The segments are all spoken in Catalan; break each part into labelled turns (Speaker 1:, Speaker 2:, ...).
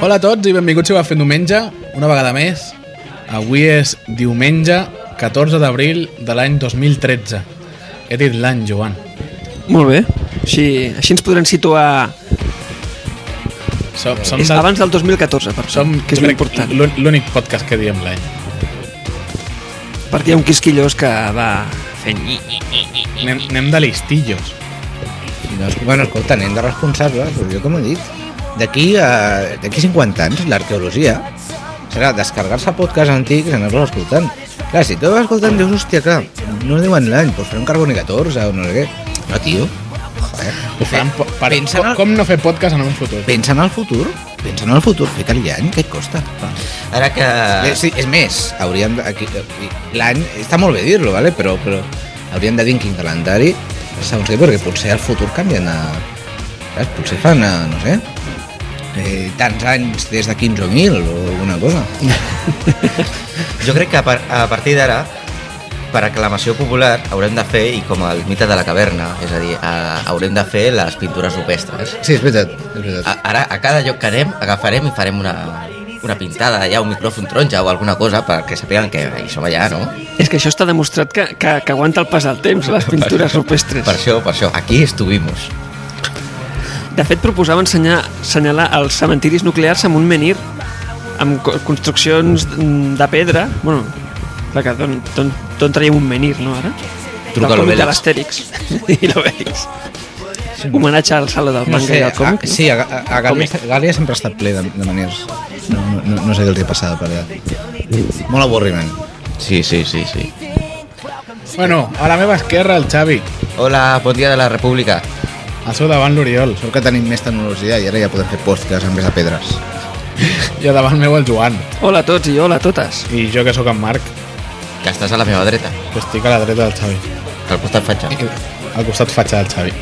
Speaker 1: Hola a tots i benvinguts a Fent Diumenge, una vegada més. Avui és diumenge 14 d'abril de l'any 2013. He dit l'any, Joan.
Speaker 2: Molt bé. Així, així ens podrem situar...
Speaker 1: Som, som,
Speaker 2: És
Speaker 1: del-
Speaker 2: abans del 2014, per
Speaker 1: som
Speaker 2: som, que és
Speaker 1: jo crec,
Speaker 2: molt important.
Speaker 1: l'ú- L'únic podcast que diem l'any.
Speaker 2: Perquè hi ha un quisquillós que va fent... nyi, nyi.
Speaker 1: Anem, anem de listillos.
Speaker 3: No, bueno, escolta, anem de responsables, però jo com he dit, d'aquí a d'aquí 50 anys l'arqueologia serà descarregar-se podcasts antics i anar-los escoltant. Clar, si tu vas escoltant dius, hòstia, clar, no diuen l'any, doncs farem Carboni 14 o no sé què. No, tio. Joder.
Speaker 1: Ho faran po- per,
Speaker 3: pensa,
Speaker 1: com,
Speaker 3: en el,
Speaker 1: com no fer podcast en un futur?
Speaker 3: pensa en el futur, pensa en el futur, fica-li any, què et costa?
Speaker 4: Ara que...
Speaker 3: Eh, Sí, és més, hauríem de- aquí, l'any, està molt bé dir-lo, vale? però, però hauríem de dir en quin calendari segons què, perquè potser al futur canvien a... Saps? Potser fan, a, no sé, eh, tants anys des de 15.000 o alguna cosa.
Speaker 4: Jo crec que a, par a partir d'ara, per aclamació popular, haurem de fer, i com el mite de la caverna, és a dir, a, haurem de fer les pintures rupestres.
Speaker 3: Sí, és veritat, és veritat.
Speaker 4: A, ara, a cada lloc que anem, agafarem i farem una, una pintada, ja un micròfon taronja o alguna cosa perquè sapiguen que hi som allà, no?
Speaker 2: És que això està demostrat que, que, que aguanta el pas del temps, les pintures rupestres.
Speaker 4: Per això, per això, aquí estuvimos.
Speaker 2: De fet, proposava ensenyar, assenyalar els cementiris nuclears amb un menir, amb co- construccions mm, de pedra. Bueno, clar que d'on- d'on d'on traiem un menir, no, ara?
Speaker 4: Truca
Speaker 2: Del còmic
Speaker 4: l'Obelix.
Speaker 2: de l'Astèrix i l'Obelix. Homenatge al saló del manga i del còmic.
Speaker 3: a, ah, sí, a, a, a Gàlia,
Speaker 2: Còmic.
Speaker 3: Gàlia sempre ha estat ple de, de maniers. No, no, no, no sé què els hi passava per allà. Molt avorriment.
Speaker 4: Sí, sí, sí, sí.
Speaker 1: Bueno, a la meva esquerra el Xavi,
Speaker 4: Hola, bon dia de la República.
Speaker 1: al seu davant l'Oriol
Speaker 3: Sort que tenim més tecnologia i ara ja podem fer podcasts en vez de pedres.
Speaker 1: i a davant meu el Joan.
Speaker 2: Hola a tots i hola a totes.
Speaker 1: I jo que sóc en Marc,
Speaker 4: Que estàs a la meva dreta,
Speaker 1: que estic a la dreta del Xavi.
Speaker 4: al costat faig jo.
Speaker 1: al costat faig del Xavi.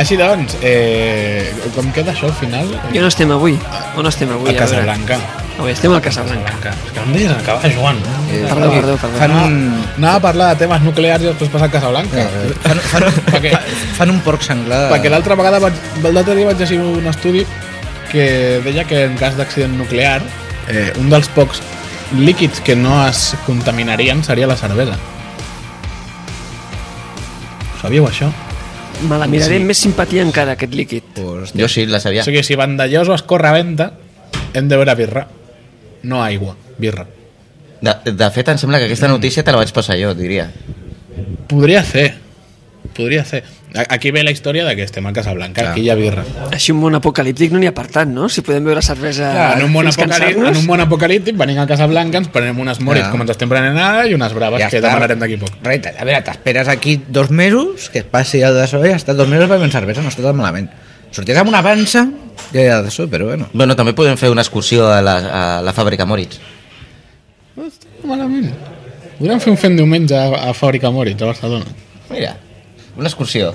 Speaker 1: Així doncs, eh, com queda això al final?
Speaker 2: I on estem avui? On estem avui?
Speaker 1: a
Speaker 2: A veure.
Speaker 1: Casablanca.
Speaker 2: Avui estem al Casablanca.
Speaker 1: Casablanca. És que no em deies acabar, Joan.
Speaker 3: Eh,
Speaker 2: Perdó, perdó, perdó.
Speaker 3: Fan un...
Speaker 1: Anava a parlar de temes nuclears i després passar a Casablanca.
Speaker 3: Eh, Fan, fan,
Speaker 1: Perquè,
Speaker 3: fan un porc senglar.
Speaker 1: perquè l'altra vegada, vaig, l'altre dia vaig llegir un estudi que deia que en cas d'accident nuclear, eh, un dels pocs líquids que no es contaminarien seria la cervesa. Ho sabíeu, això?
Speaker 2: Me la miraré amb més simpatia encara, aquest líquid.
Speaker 3: Pues,
Speaker 4: Jo sí, la sabia.
Speaker 1: O sigui, si Vandellós o Escorreventa, hem de veure birra. No aigua, birra.
Speaker 4: De, de fet, em sembla que aquesta notícia te la vaig passar jo, diria.
Speaker 1: Podria ser. Podria ser. A- Aquí ve la història de que estem a Casablanca,
Speaker 3: Clar.
Speaker 1: aquí hi ha birra.
Speaker 2: Així un món apocalíptic no n'hi ha per tant, no? Si podem beure cervesa
Speaker 1: Clar, Ah, en, un món
Speaker 2: fins
Speaker 1: apocalí-
Speaker 2: cansar-nos.
Speaker 1: en un món apocalíptic venim a Casablanca, ens prenem unes moris
Speaker 3: Clar.
Speaker 1: com ens estem prenent ara i unes braves ja que
Speaker 3: està.
Speaker 1: demanarem d'aquí a poc.
Speaker 3: Reta, a veure, t'esperes aquí dos mesos, que et passi el de sobre, ja està, dos mesos bevent cervesa, no està tan malament. Sorties amb una pansa, ja hi ha de sobre, però bueno.
Speaker 4: Bueno, també podem fer una excursió a la, a la fàbrica Moritz.
Speaker 1: No està malament. Podríem fer un fent diumenge a, a Fàbrica Moritz, a Barcelona.
Speaker 4: Mira, una excursió.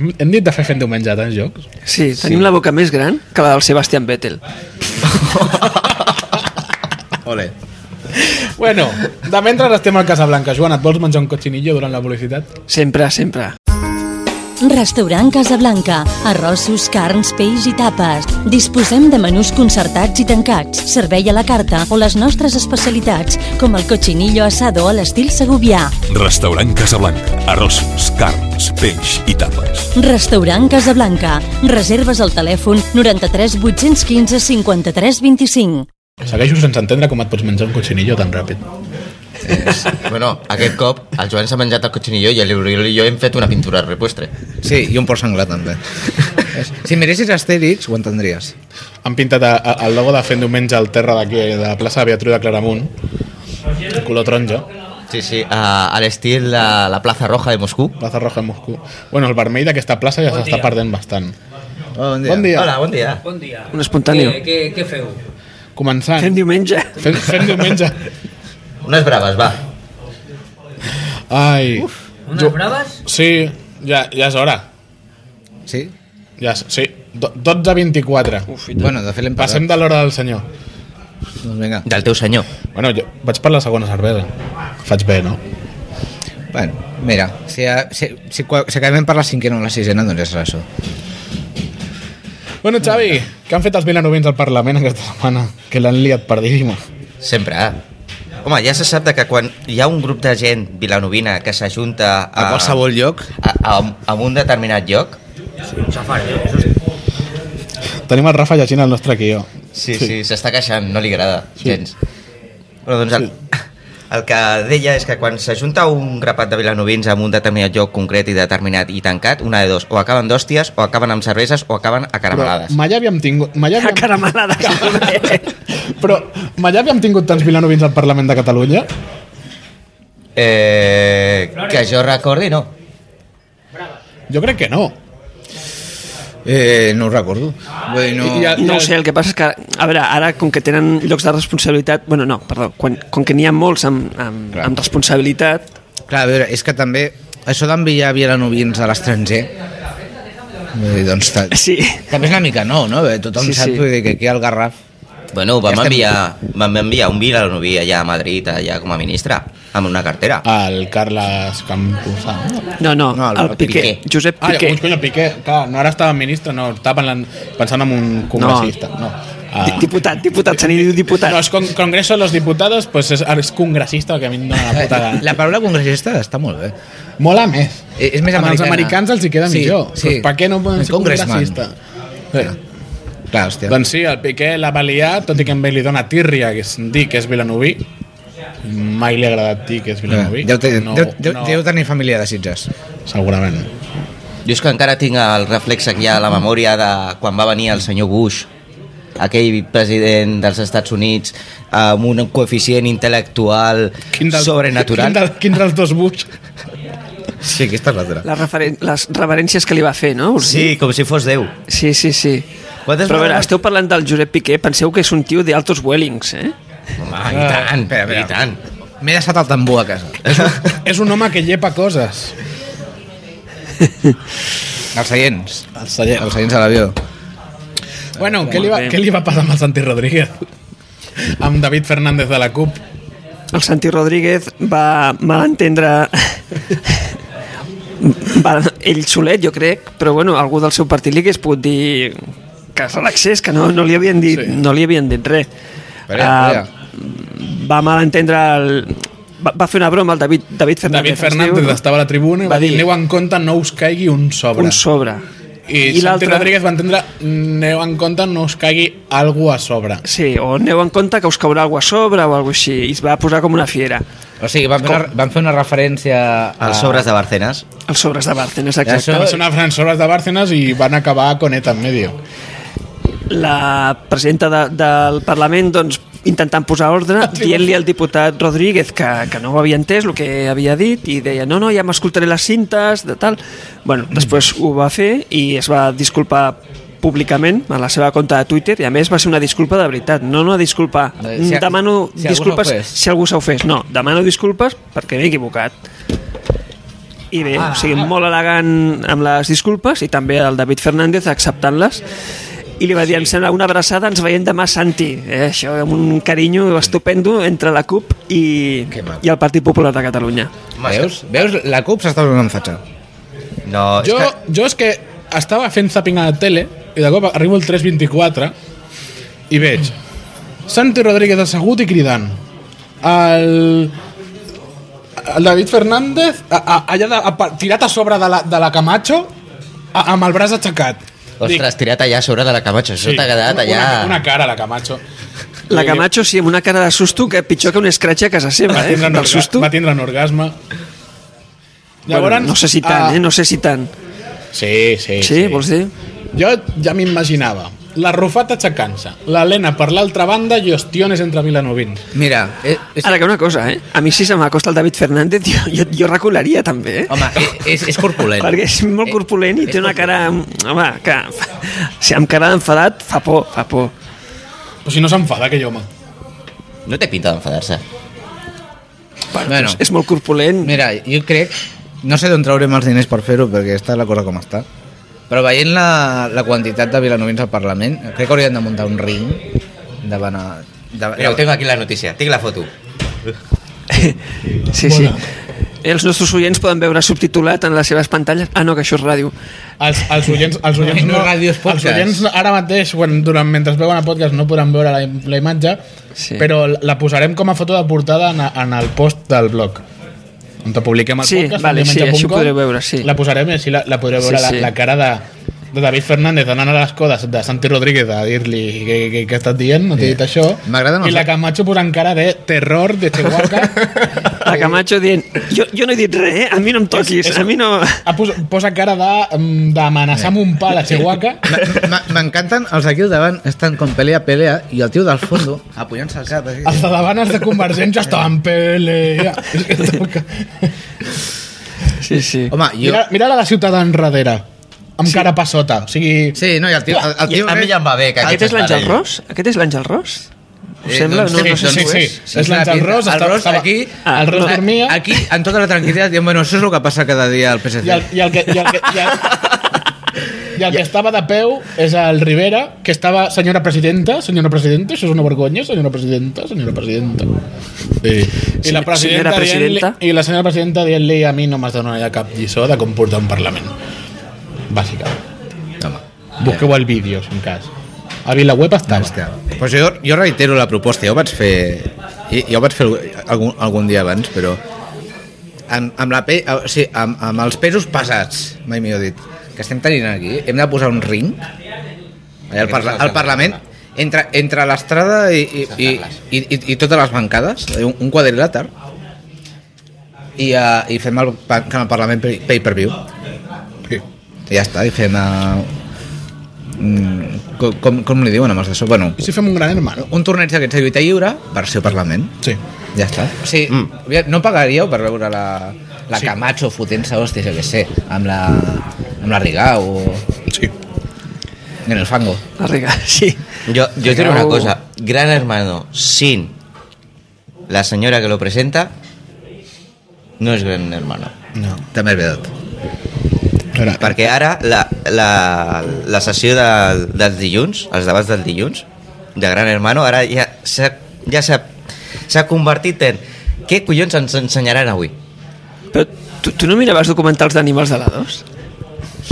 Speaker 1: Hem, hem dit de fer fent diumenge a tants jocs.
Speaker 2: Sí, tenim la boca més gran que la del Sebastian Vettel.
Speaker 3: Ole.
Speaker 1: Bueno, de mentre estem al Casablanca. Joan, et vols menjar un cochinillo durant la publicitat?
Speaker 2: Sempre, sempre.
Speaker 5: Restaurant Casablanca. Arrossos, carns, peix i tapes. Disposem de menús concertats i tancats, servei a la carta o les nostres especialitats, com el cochinillo asado a l'estil segubià.
Speaker 6: Restaurant Casablanca. Arrossos, carns, peix i tapes.
Speaker 5: Restaurant Casablanca. Reserves al telèfon 93 815 53 25.
Speaker 1: Segueixo sense entendre com et pots menjar un cochinillo tan ràpid.
Speaker 4: Bueno, aquest cop el Joan s'ha menjat el cochinillo i l'Oriol i jo hem fet una pintura al repostre.
Speaker 3: Sí, i un porc senglar també. si miressis Astèrix, ho entendries.
Speaker 1: Han pintat a, a, el logo de fent diumenge al terra d'aquí, de la plaça Beatriu de Claramunt, color taronja,
Speaker 4: Sí, sí, a, a l'estil de la Plaza Roja de Moscú.
Speaker 1: plaça roja de Moscú. Bueno, el vermell d'aquesta plaça ja s'està perdent bastant.
Speaker 3: Oh, bon
Speaker 1: Bon dia.
Speaker 4: Hola, bon dia.
Speaker 7: Bon dia.
Speaker 2: Un espontani.
Speaker 1: Eh,
Speaker 7: Què, què, què feu?
Speaker 1: Començant.
Speaker 2: Fem diumenge.
Speaker 1: Fem, fem diumenge.
Speaker 4: Unes braves, va.
Speaker 1: Ai.
Speaker 7: Unes
Speaker 1: Jo-
Speaker 7: braves?
Speaker 1: Sí, ja, ja és hora.
Speaker 3: Sí?
Speaker 1: Ja és, sí, Do- 12.24.
Speaker 2: Uf, i tant.
Speaker 3: Bueno, de fet l'hem
Speaker 1: Passem
Speaker 3: passat.
Speaker 1: de l'hora del senyor.
Speaker 3: Doncs vinga.
Speaker 4: Del teu senyor.
Speaker 1: Bueno, jo vaig per la segona cervesa. Faig bé, no?
Speaker 3: Bueno, mira, si, si, si, si acabem per la cinquena o la sisena, doncs és això.
Speaker 1: Bueno, Xavi, què han fet els vilanovins al Parlament aquesta setmana? Que l'han liat perdíssima.
Speaker 4: Sempre. eh? Home, ja se sap de que quan hi ha un grup de gent vilanovina que s'ajunta
Speaker 3: A qualsevol lloc.
Speaker 4: a, a, a un determinat lloc,
Speaker 1: Tenim el Rafa llegint el nostre guió.
Speaker 4: sí, sí, s'està queixant, no li agrada sí. gens. Però doncs el, el que deia és que quan s'ajunta un grapat de vilanovins en un determinat lloc concret i determinat i tancat, una de dos, o acaben d'hòsties, o acaben amb cerveses, o acaben a
Speaker 1: Però
Speaker 4: caramelades.
Speaker 1: mai havíem tingut... Mai
Speaker 2: La
Speaker 1: havíem,
Speaker 2: caramelada.
Speaker 1: eh, però mai havíem tingut tants vilanovins al Parlament de Catalunya?
Speaker 4: Eh, que jo recordi, no.
Speaker 1: Jo crec que no.
Speaker 3: Eh, no ho recordo. Bueno,
Speaker 1: I- i el-
Speaker 2: No ho sé, el que passa és que, a veure, ara com que tenen llocs de responsabilitat, bueno, no, perdó, quan, com que n'hi ha molts amb, amb,
Speaker 3: Clar.
Speaker 2: amb responsabilitat,
Speaker 3: Clar, a veure, és que també això d'enviar vilanovins a l'estranger eh, doncs ta-
Speaker 2: sí,
Speaker 3: també és una mica nou, no? Eh, Tothom
Speaker 2: Sí,
Speaker 3: sí, sap
Speaker 2: sí.
Speaker 3: vull dir, que aquí al Garraf
Speaker 4: Bueno, vam,
Speaker 3: Ja estem-
Speaker 4: enviar, vam enviar un vilanoví allà a Madrid, allà com a ministre, amb una cartera.
Speaker 1: El Carles Campuzano.
Speaker 2: no, no,
Speaker 3: No,
Speaker 2: no
Speaker 3: el-
Speaker 2: el,
Speaker 3: el
Speaker 2: el Piqué,
Speaker 4: Piqué.
Speaker 2: Josep
Speaker 1: Ah,
Speaker 2: Piqué.
Speaker 1: llavors, cony, el Piqué. Clar, no ara estava ministre, no, estava parlant, pensant en un congressista. No. Ah.
Speaker 2: Di- Diputat, diputat, se n'hi diu diputat.
Speaker 1: No, es con Congreso de los Diputados, pues és, és congressista, que a mi em dóna la puta gana.
Speaker 3: la paraula congressista està molt bé
Speaker 1: Mola més.
Speaker 3: Eh, és més
Speaker 1: Amb els
Speaker 3: americana.
Speaker 1: americans els hi queda
Speaker 3: Sí,
Speaker 1: millor.
Speaker 3: sí.
Speaker 1: Pues per què no poden
Speaker 3: Un
Speaker 1: ser
Speaker 3: congressman.
Speaker 1: congressista? Bé,
Speaker 3: Clar, hòstia
Speaker 1: Doncs sí, el Piqué l'ha baliat, tot i que a ell li dona tírria que es dir que és vilanoví. Mai li ha agradat dir que és
Speaker 3: Clar,
Speaker 1: vilanoví.
Speaker 3: Eh, deu, te,
Speaker 1: no,
Speaker 3: deu, deu,
Speaker 1: no,
Speaker 3: deu tenir família de Sitges
Speaker 1: Segurament.
Speaker 4: Jo és que encara tinc el reflex aquí a la memòria de quan va venir el senyor Bush, aquell president dels Estats Units amb un coeficient intel·lectual
Speaker 1: Quin,
Speaker 4: sobrenatural.
Speaker 1: del, quin dels dos buts?
Speaker 3: sí, aquesta és l'altra
Speaker 2: Les, referen les reverències que li va fer, no? O sigui,
Speaker 4: Sí, com si fos Déu.
Speaker 2: Sí, sí, sí.
Speaker 4: Quantes
Speaker 2: Però a veure,
Speaker 4: vegades-
Speaker 2: esteu parlant del Josep Piqué, penseu que és un tio d'altos wellings, eh?
Speaker 4: Home, i tant,
Speaker 3: espera, espera.
Speaker 4: i tant.
Speaker 3: m'he deixat el tambor a casa
Speaker 1: és un home que llepa coses.
Speaker 3: els seients
Speaker 1: El celler.
Speaker 3: els seients de l'avió
Speaker 1: Bueno, què li, va,
Speaker 2: Molt bé.
Speaker 1: què li va passar amb el Santi Rodríguez? amb David Fernández de la CUP.
Speaker 2: El Santi Rodríguez va malentendre... va, ell solet, jo crec, però bueno, algú del seu partit li hagués pogut dir que es relaxés, que no, no, li, havien dit,
Speaker 1: Sí.
Speaker 2: sí. no li havien dit res.
Speaker 3: Espera,
Speaker 2: Ah, va malentendre el... Va, va fer una broma al David, David Fernández.
Speaker 1: David
Speaker 2: es diu,
Speaker 1: Fernández
Speaker 2: no?
Speaker 1: estava a la tribuna i va
Speaker 2: Va
Speaker 1: dir
Speaker 2: dir-
Speaker 1: aneu en compte, no us caigui un sobre.
Speaker 2: Un sobre.
Speaker 1: I, I Santi
Speaker 2: l'altre-
Speaker 1: Rodríguez va entendre aneu en compte, no us caigui algú a sobre.
Speaker 2: Sí, o aneu en compte que us caurà alguna a sobre o alguna així. I es va posar com una fiera.
Speaker 3: o sigui, van fer, una, van fer una referència a...
Speaker 4: Els sobres de Barcenas.
Speaker 2: Els sobres de Bárcenas,
Speaker 3: Això-
Speaker 2: exacte.
Speaker 1: Van sonar franceses de Bárcenas i van acabar con ETA en medio.
Speaker 2: La presidenta de, del Parlament doncs, intentant posar ordre, dient-li al diputat Rodríguez que, que no ho havia entès el que havia dit i deia, no, no, ja m'escoltaré les cintes, de tal. Bueno,
Speaker 3: Mm.
Speaker 2: després ho va fer i es va disculpar públicament a la seva compte de Twitter i a més va ser una disculpa de veritat, no una disculpa
Speaker 3: Eh, si a-
Speaker 2: demano
Speaker 3: si algú
Speaker 2: disculpes
Speaker 3: s'ofés.
Speaker 2: si algú s'ha ofès, no, demano disculpes perquè m'he equivocat i bé, o sigui, molt elegant amb les disculpes i també el David Fernández acceptant-les i li va dir, em sembla una abraçada, ens veiem demà Santi, eh, això amb un carinyo estupendo entre la CUP i,
Speaker 3: Que maco.
Speaker 2: i el Partit Popular de Catalunya
Speaker 3: Veus? Veus? La CUP s'està donant fatxa.
Speaker 4: No,
Speaker 1: Jo,
Speaker 4: és que...
Speaker 1: jo és que estava fent zapping a la tele i de cop arribo al 324 i veig Santi Rodríguez assegut i cridant el, el David Fernández a, a, allà de, a, pa- tirat a sobre de la, de la Camacho a, amb el braç aixecat
Speaker 4: Ostres, tirat allà a sobre de la Camacho, això t'ha quedat allà...
Speaker 1: una, una cara la Camacho
Speaker 2: la
Speaker 1: Sí.
Speaker 2: Camacho, sí, amb una cara de susto que pitjor que un escratx a casa
Speaker 1: va
Speaker 2: seva, eh?
Speaker 1: tindre, un,
Speaker 2: del
Speaker 1: orga,
Speaker 2: susto
Speaker 1: va tindre un orgasme
Speaker 2: bueno, no sé si tant,
Speaker 1: ah,
Speaker 2: eh? no sé si tant
Speaker 1: sí, sí,
Speaker 2: sí, vols dir?
Speaker 1: Jo ja m'imaginava la Rufat aixecant-se, l'Helena per l'altra banda i ostiones entre vilanovins.
Speaker 3: Mira, és, és,
Speaker 2: Ara que una cosa, eh? A mi si se m'acosta el David Fernández jo, jo, jo recularia també, eh?
Speaker 3: home, és- és, és corpulent.
Speaker 2: Perquè és molt corpulent i té una cara... mm, Home, que... Si amb cara d'enfadat fa por, fa por.
Speaker 1: Però si no s'enfada aquell home.
Speaker 4: No té pinta d'enfadar-se.
Speaker 2: Bueno,
Speaker 3: Bueno.
Speaker 2: és, és molt corpulent.
Speaker 3: Mira, jo crec... No sé d'on traurem els diners per fer-ho, perquè està la cosa com està. Però veient la, la quantitat de vilanovins al Parlament, crec que haurien de muntar un ring davant a... De,
Speaker 4: Mira, ho tinc aquí la notícia, tinc la foto.
Speaker 2: Sí, sí. Eh, els nostres oients poden veure subtitulat en les seves pantalles. Ah, no, que això és ràdio.
Speaker 1: Els, els oients, els oients,
Speaker 3: No, ràdio és
Speaker 1: els
Speaker 3: podcast.
Speaker 1: oients ara mateix, quan, durant, mentre veuen el podcast, no podran veure la, im- la imatge,
Speaker 2: Sí.
Speaker 1: però la posarem com a foto de portada en, en el post del blog. On te publiquem el
Speaker 2: Sí,
Speaker 1: podcast,
Speaker 2: vale, sí,
Speaker 1: diumenge punt
Speaker 2: això ho
Speaker 1: com,
Speaker 2: podreu veure, sí.
Speaker 1: La posarem i així la, la podreu
Speaker 2: Sí,
Speaker 1: veure
Speaker 2: sí.
Speaker 1: La, la cara de, de David Fernández anant a l'escó de, de Santi Rodríguez a dir-li que, que, que, estàs dient, no t'he dit això.
Speaker 3: M'agrada
Speaker 1: I
Speaker 3: molt.
Speaker 1: la Camacho posant cara de terror de Chihuahua.
Speaker 2: La Camacho dient, jo, jo no he dit res, eh? a mi no em toquis, a mi no...
Speaker 1: Ah, posa, posa cara de, mm, d'amenaçar
Speaker 3: Eh.
Speaker 1: amb un pal a Chihuahua.
Speaker 3: M- m- M'encanten els d'aquí al davant, estan com pelea, pelea, i el tio del fondo apoyant-se al cap. eh?
Speaker 1: Els
Speaker 3: Així.
Speaker 1: de davant, els de Convergència, estaven pelea.
Speaker 2: Sí, sí.
Speaker 3: Home, jo...
Speaker 1: Mira, mira la de Ciutadans enrere, amb sí. cara pa sota. O sigui, sí.
Speaker 3: Sí, no, i el tio... El, el tio
Speaker 4: A mi ja em va bé que
Speaker 2: Aquest
Speaker 4: aquest
Speaker 2: és l'Àngel
Speaker 4: parell.
Speaker 2: Ros? Aquest és l'Àngel Ros? Ho
Speaker 3: Eh,
Speaker 2: sembla?
Speaker 3: doncs
Speaker 2: No,
Speaker 1: sí,
Speaker 2: no
Speaker 1: sí,
Speaker 2: sé si ho
Speaker 1: sí,
Speaker 2: és.
Speaker 1: És l'Àngel Ros,
Speaker 3: El
Speaker 1: estava-
Speaker 3: Ros
Speaker 1: estava-
Speaker 3: aquí...
Speaker 1: Ah, el Ros
Speaker 3: no,
Speaker 1: dormia.
Speaker 3: Aquí, en tota la tranquil·litat, dient, bueno, això és el que passa cada dia al PSC.
Speaker 1: i el, i el que... I el que i el, i el que estava de peu és el Rivera, que estava senyora presidenta, senyora presidenta, això és una vergonya, senyora presidenta, senyora presidenta. Sí. I, la
Speaker 2: Senyora
Speaker 1: presidenta dient-li-
Speaker 2: presidenta.
Speaker 1: I la senyora presidenta dient-li a mi no m'has donat ja cap lliçó de com portar un Parlament. Bàsicament.
Speaker 3: Home,
Speaker 1: Busqueu el vídeo, si en cas. A Vilaweb estava.
Speaker 3: hòstia. Pues jo, jo reitero la proposta, jo vaig fer... i- Jo vaig fer algun, algun dia abans, però... Amb, amb, la pe... o sigui, amb, amb els pesos pesats, mai millor dit, que estem tenint aquí, hem de posar un ring allà al, parla, al Parlament, entre, entre l'estrada i, i, i, i, i, i totes les bancades, eh, un, un quadrilàter, i, uh, i fem el, pa- que en el Parlament pay- pay-per-view. Sí. I ja està, i fem... Uh, mm, com, com, com li diuen amb els de so? Bueno,
Speaker 1: I si fem un gran hermano?
Speaker 3: un torneig d'aquests de lluita lliure, versió Parlament.
Speaker 1: Sí.
Speaker 3: Ja està. O sigui, mm. no pagaríeu per veure la, la sí. Camacho fotent-se, hòstia, jo què sé, amb la, amb la Rigà o
Speaker 1: Sí.
Speaker 3: en el fango.
Speaker 2: La Riga, sí.
Speaker 4: Yo, yo diré
Speaker 2: Claro.
Speaker 4: una cosa. Gran Hermano sin la señora que lo presenta no es Gran Hermano.
Speaker 1: No.
Speaker 3: També és veritat.
Speaker 1: Era,
Speaker 4: Perquè ara la, la, la sessió de, dels dilluns, els debats del dilluns, de Gran Hermano, ara ja s'ha ja s'ha s'ha convertit en què collons ens ensenyaran avui?
Speaker 2: Però tu, tu no miraves documentals d'animals de la 2?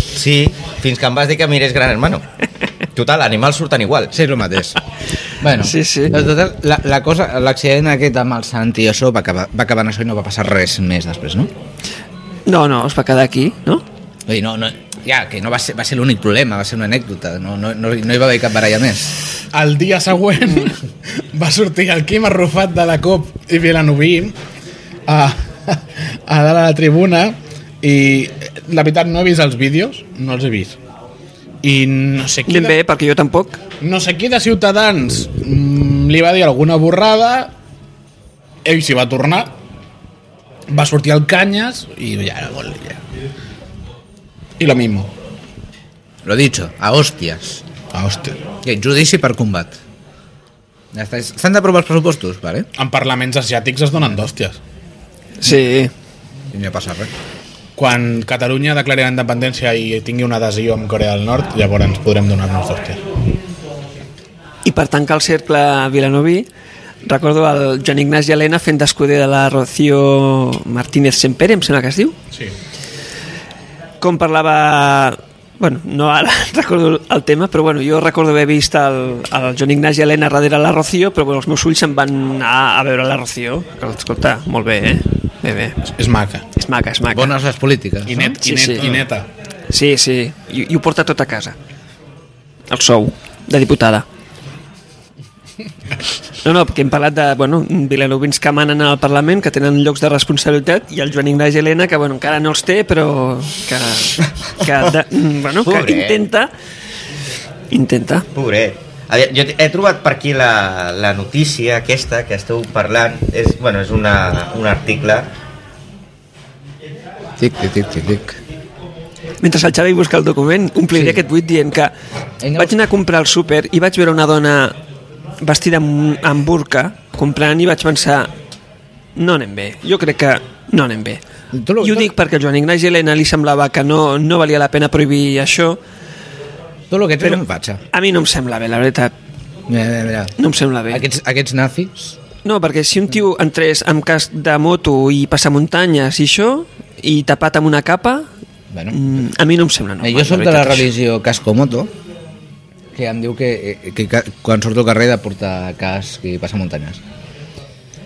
Speaker 4: Sí, fins que em vas dir que mirés Gran Hermano. Total, animals surten igual.
Speaker 3: Sí, és el mateix. bueno,
Speaker 2: Sí, sí.
Speaker 3: en Total, la, la cosa, l'accident aquest amb el Santi, això va acabar, va acabar en això i no va passar res més després, no?
Speaker 2: No, no, es va quedar aquí, no?
Speaker 3: Vull dir, no, no, ja, que no va ser, va ser l'únic problema, va ser una anècdota, no, no, no, no hi va haver cap baralla més.
Speaker 1: el dia següent va sortir el Quim Arrufat de la COP i Vilanoví a, a dalt a la tribuna i la veritat no he vist els vídeos, no els he vist. I no sé qui...
Speaker 2: Ben bé, perquè jo tampoc.
Speaker 1: no sé qui de Ciutadans mm, li va dir alguna borrada ell s'hi va tornar va sortir al Canyes i ja era gol ja. i lo mismo
Speaker 3: Lo dicho, a hòsties.
Speaker 1: ah, hòstia
Speaker 3: Que judici per combat. Ja està. S'han d'aprovar els pressupostos, vale?
Speaker 1: en parlaments asiàtics es donen d'hòsties
Speaker 2: Sí.
Speaker 3: I no hi passa res.
Speaker 1: quan Catalunya declari la independència i tingui una adhesió amb Corea del Nord llavors ens podrem donar-nos d'hòsties
Speaker 2: I per tancar el cercle a Vilanoví, recordo el Joan Ignasi Helena fent d'escuder de la Rocío Martínez Sempere, em sembla que es diu,
Speaker 1: sí.
Speaker 2: com parlava... Bueno, no ara recordo el tema, però bueno, jo recordo haver vist el, el Joan Ignasi Helena darrere la Rocío, però bueno, els meus ulls se'n van anar a veure la Rocío. Que, escolta, molt bé, eh? Bé, bé.
Speaker 1: és maca
Speaker 2: És maca, és maca.
Speaker 3: Bones les polítiques.
Speaker 1: i, net, i,
Speaker 2: Ah, Sí,
Speaker 1: net,
Speaker 2: sí.
Speaker 1: i neta
Speaker 2: Sí, sí, i, i ho porta tot a casa. El sou de diputada. No, no, perquè hem parlat de bueno, vilanovins que manen al Parlament, que tenen llocs de responsabilitat, i el Joan Ignasi Helena, que bueno, encara no els té, però que, que, de, mm, bueno, que
Speaker 4: Pobret.
Speaker 2: intenta... Intenta.
Speaker 4: Pobret. A veure, jo he trobat per aquí la, la notícia aquesta que esteu parlant. És, bueno, és una, un article.
Speaker 3: Tic, tic, tic, tic, tic.
Speaker 2: Mentre el Xavi busca el document, ompliré sí. aquest buit dient que vaig anar a comprar al súper i vaig veure una dona vestida amb, amb burca comprant i vaig pensar no anem bé, jo crec que no anem bé.
Speaker 3: Tu lo-
Speaker 2: I ho
Speaker 3: tu-
Speaker 2: dic perquè al Joan Ignasi Helena li semblava que no, no valia la pena prohibir això.
Speaker 3: Tot el que tens Però... un fatxa. Eh,
Speaker 2: A mi no em sembla bé, la veritat.
Speaker 3: Mira, mira, mira.
Speaker 2: No em sembla bé.
Speaker 3: Aquests, aquests nazis
Speaker 2: No, perquè si un tio entrés amb casc de moto i passar muntanyes i això, i tapat amb una capa,
Speaker 3: Bueno. Eh,
Speaker 2: mm, a mi no em sembla normal.
Speaker 3: jo sóc de la
Speaker 2: veritat, això.
Speaker 3: religió Cascomoto, que em diu que, eh, que, que quan surto al carrer he de portar casc i passar muntanyes.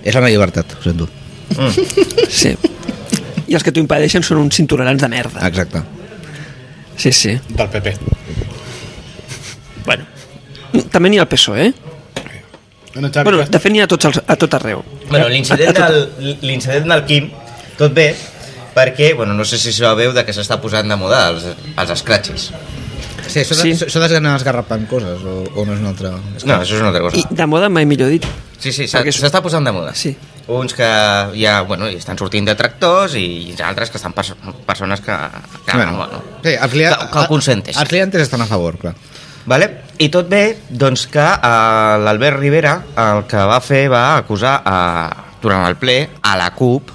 Speaker 3: És la meva llibertat, ho sento.
Speaker 2: Sí. I els que t'ho impedeixen són uns intolerants de merda.
Speaker 3: Exacte.
Speaker 2: Sí, sí.
Speaker 1: Del PP.
Speaker 2: Bueno. També n'hi ha el PSOE, eh?
Speaker 1: Bueno, Xavi,
Speaker 2: Bueno,
Speaker 1: ja-
Speaker 2: de fet n'hi ha a, tots els, a tot arreu.
Speaker 4: Bueno, l'incident
Speaker 2: A- a tot-
Speaker 4: del, l'incident del Quim, tot bé, perquè, bueno, no sé si sabeu de que s'està posant de moda els, els scratches.
Speaker 3: Sí, això,
Speaker 2: Sí.
Speaker 3: sí. això de anar esgarrapant coses, o, o no és una altra...
Speaker 4: No, això és una altra
Speaker 2: I
Speaker 4: cosa.
Speaker 2: de moda mai millor dit.
Speaker 4: Sí, sí, s'ha-
Speaker 2: perquè és-
Speaker 4: s'està posant de moda.
Speaker 2: Sí.
Speaker 4: Uns que ja, bueno, hi estan sortint de tractors i altres que estan pers persones que... que
Speaker 3: Bueno,
Speaker 4: bueno,
Speaker 3: sí, els lia...
Speaker 4: que, que ho consenteixen.
Speaker 3: Els clientes estan a favor, clar.
Speaker 4: Vale? I tot bé, doncs que eh, l'Albert Rivera el que va fer va acusar eh, durant el ple a la CUP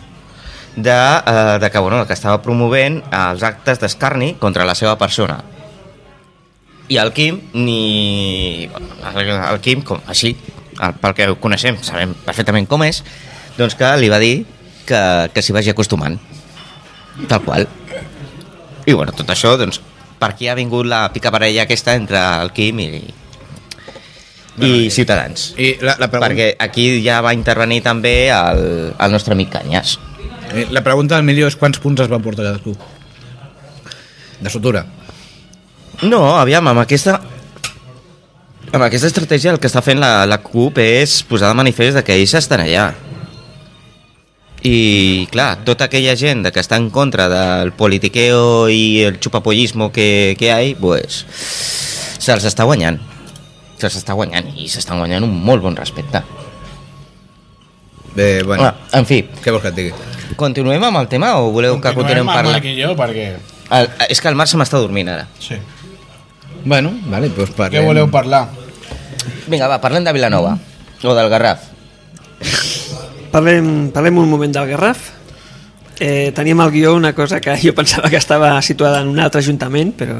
Speaker 4: de, eh, de que, bueno, que estava promovent eh, els actes d'escarni contra la seva persona. I el Quim, ni... El, el Quim, com, així, el, pel que ho coneixem, sabem perfectament com és, doncs que li va dir que, que s'hi vagi acostumant. Tal qual. I bueno, tot això, doncs, per aquí ha vingut la picaparella aquesta entre el Quim i, i Ciutadans.
Speaker 3: I la, la, pregunta,
Speaker 4: Perquè aquí ja va intervenir també el, el nostre amic Canyes.
Speaker 3: eh, la pregunta del milió és quants punts es va portar cadascú? De sotura.
Speaker 4: No, aviam, amb aquesta... Amb aquesta estratègia el que està fent la, la CUP és posar de manifest de que ells estan allà. I, clar, tota aquella gent de que està en contra del politiqueo i el xupapollismo que, que hi ha, pues, se'ls està guanyant. Se'ls està guanyant i s'estan guanyant un molt bon respecte.
Speaker 3: Bé, bueno,
Speaker 4: Bueno, en fi,
Speaker 3: què vols que et digui?
Speaker 4: continuem amb el tema o voleu que
Speaker 1: Continuem
Speaker 4: continuem
Speaker 1: amb
Speaker 4: parlant?
Speaker 1: Marc i jo, perquè...
Speaker 4: El, és que el Marc se m'està dormint ara.
Speaker 1: Sí.
Speaker 3: Bueno, vale, doncs parlem...
Speaker 1: Què voleu parlar?
Speaker 4: Vinga, va, parlem de Vilanova. O del Garraf.
Speaker 2: Parlem, parlem un moment del Garraf. Eh, teníem al guió una cosa que jo pensava que estava situada en un altre ajuntament, però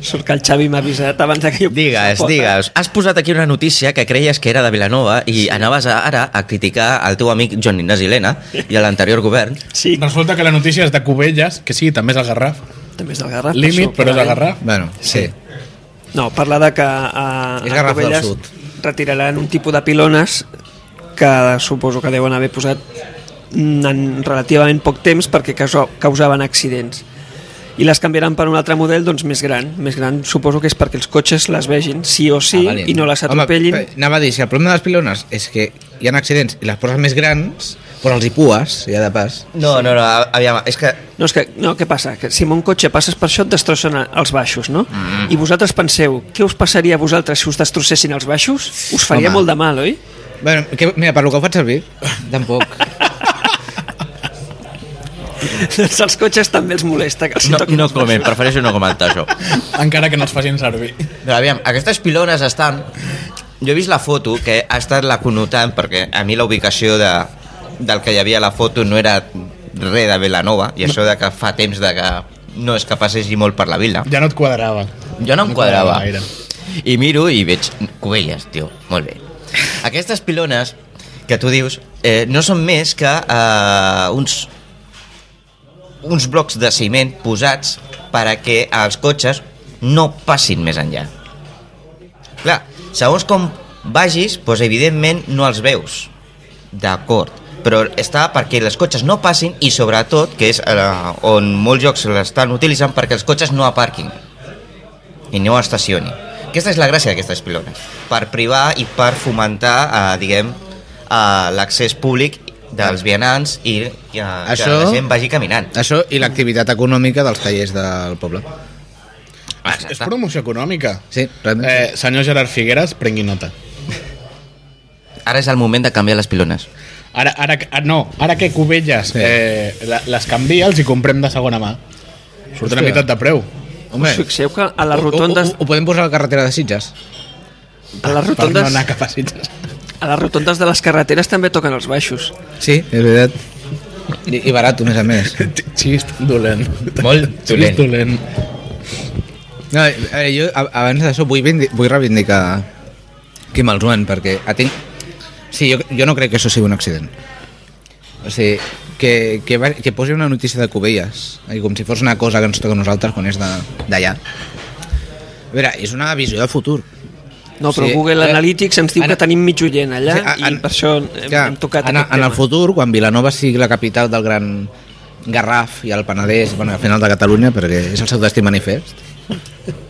Speaker 2: sort que el Xavi m'ha avisat abans de que jo...
Speaker 4: Digues, digues. Has posat aquí una notícia que creies que era de Vilanova i anaves a- ara a criticar el teu amic Joan Inés Helena i a l'anterior govern.
Speaker 2: Sí,
Speaker 1: Resulta que la notícia és de Cubelles, que sí, també és el Garraf.
Speaker 2: també és del
Speaker 4: Ah,
Speaker 2: Garraf. per
Speaker 1: Límit,
Speaker 2: això
Speaker 1: però és el Garraf.
Speaker 2: parlarem.
Speaker 3: Bueno, sí.
Speaker 2: No, parla de que a, a
Speaker 3: És Garraf del
Speaker 2: Covelles
Speaker 3: Sud.
Speaker 2: retiraran un tipus de pilones que suposo que deuen haver posat mm, en relativament poc temps perquè causa- causaven accidents i les canviaran per un altre model doncs més gran més gran suposo que és perquè els cotxes les vegin sí o sí
Speaker 3: vale.
Speaker 2: i no les
Speaker 3: Ah, Home,
Speaker 2: atropellin
Speaker 3: pe- anava a dir, si el problema de les pilones és que hi ha accidents i les poses més grans, però els hi pues, ja de pas.
Speaker 4: No, no, no, a- aviam, és que...
Speaker 2: No, és que, no, què passa? Que si amb un cotxe passes per això et destrossen a- els baixos, no? Mm. I vosaltres penseu, què us passaria a vosaltres si us destrossessin els baixos? Us faria
Speaker 3: Home.
Speaker 2: molt de mal, oi?
Speaker 3: Bueno, que, mira, per lo que ho faig servir, tampoc.
Speaker 2: doncs els cotxes també els molesta que els
Speaker 4: No,
Speaker 2: toquin
Speaker 4: no
Speaker 2: els baixos.
Speaker 4: comen, prefereixo no comentar això.
Speaker 1: Encara que no els facin servir.
Speaker 4: Però aviam, aquestes pilones estan... Jo he vist la foto, que ha estat la connotant, perquè a mi la ubicació de, del que hi havia a la foto no era res de Vilanova, i això de que fa temps de que no és que passegi molt per la vila.
Speaker 1: Ja no et quadrava.
Speaker 4: Jo no em
Speaker 1: No quadrava
Speaker 4: quadrava.
Speaker 1: gaire.
Speaker 4: I miro i veig Covelles, tio, molt bé. Aquestes pilones que tu dius eh, no són més que eh, uns, uns blocs de ciment posats per a que els cotxes no passin més enllà. Clar, segons com vagis, doncs evidentment no els veus. D'acord. Però està perquè els cotxes no passin i sobretot, que és eh, on molts jocs l'estan utilitzant, perquè els cotxes no aparquin i no estacioni. Aquesta és la gràcia d'aquestes pilones, per privar i per fomentar, eh, diguem, eh, l'accés públic dels vianants i, i eh, Això... que
Speaker 3: Això-
Speaker 4: la gent vagi caminant.
Speaker 3: Això i l'activitat econòmica dels tallers del poble.
Speaker 4: Ah,
Speaker 1: És, és promoció econòmica.
Speaker 3: Sí, realment.
Speaker 1: Eh, senyor Gerard Figueres, prengui nota.
Speaker 4: Ara és el moment de canviar les pilones.
Speaker 1: Ara, ara, que- ah, no, ara que Cubelles
Speaker 3: Sí.
Speaker 1: eh, la- les canvia, els hi comprem de segona mà. Surten a
Speaker 3: Hòstia.
Speaker 1: meitat de preu.
Speaker 3: Home,
Speaker 2: Us fixeu que a les
Speaker 3: ho- ho-
Speaker 2: rotondes,
Speaker 3: Ho, ho, podem posar a la carretera de Sitges?
Speaker 2: a les
Speaker 1: Per no
Speaker 2: rotondes,
Speaker 1: anar cap a Sitges.
Speaker 2: a les rotondes de les carreteres també toquen els baixos.
Speaker 3: Sí, és veritat. I, i barat, a més a més.
Speaker 1: Xist dolent.
Speaker 4: Molt
Speaker 1: Xist
Speaker 4: dolent.
Speaker 1: dolent.
Speaker 3: No, eh, jo a- abans d'això vull, vindi- vull reivindicar Quim el Joan, perquè a tinc... O Sí, jo, jo no crec que això sigui un accident. O sigui, que, que, va- que posi una notícia de Cubelles, i com si fos una cosa que ens toca a nosaltres quan és de- d'allà. A veure, és una visió de futur.
Speaker 2: No, però
Speaker 3: Sí,
Speaker 2: Google
Speaker 3: eh,
Speaker 2: Analytics ens diu
Speaker 3: en-
Speaker 2: que tenim mig oient allà
Speaker 3: Sí, en-
Speaker 2: i per això hem,
Speaker 3: clar,
Speaker 2: hem tocat
Speaker 3: en,
Speaker 2: aquest
Speaker 3: en el
Speaker 2: tema.
Speaker 3: futur, quan Vilanova sigui la capital del gran Garraf i el Penedès, bueno, al final de Catalunya, perquè és el seu destí manifest,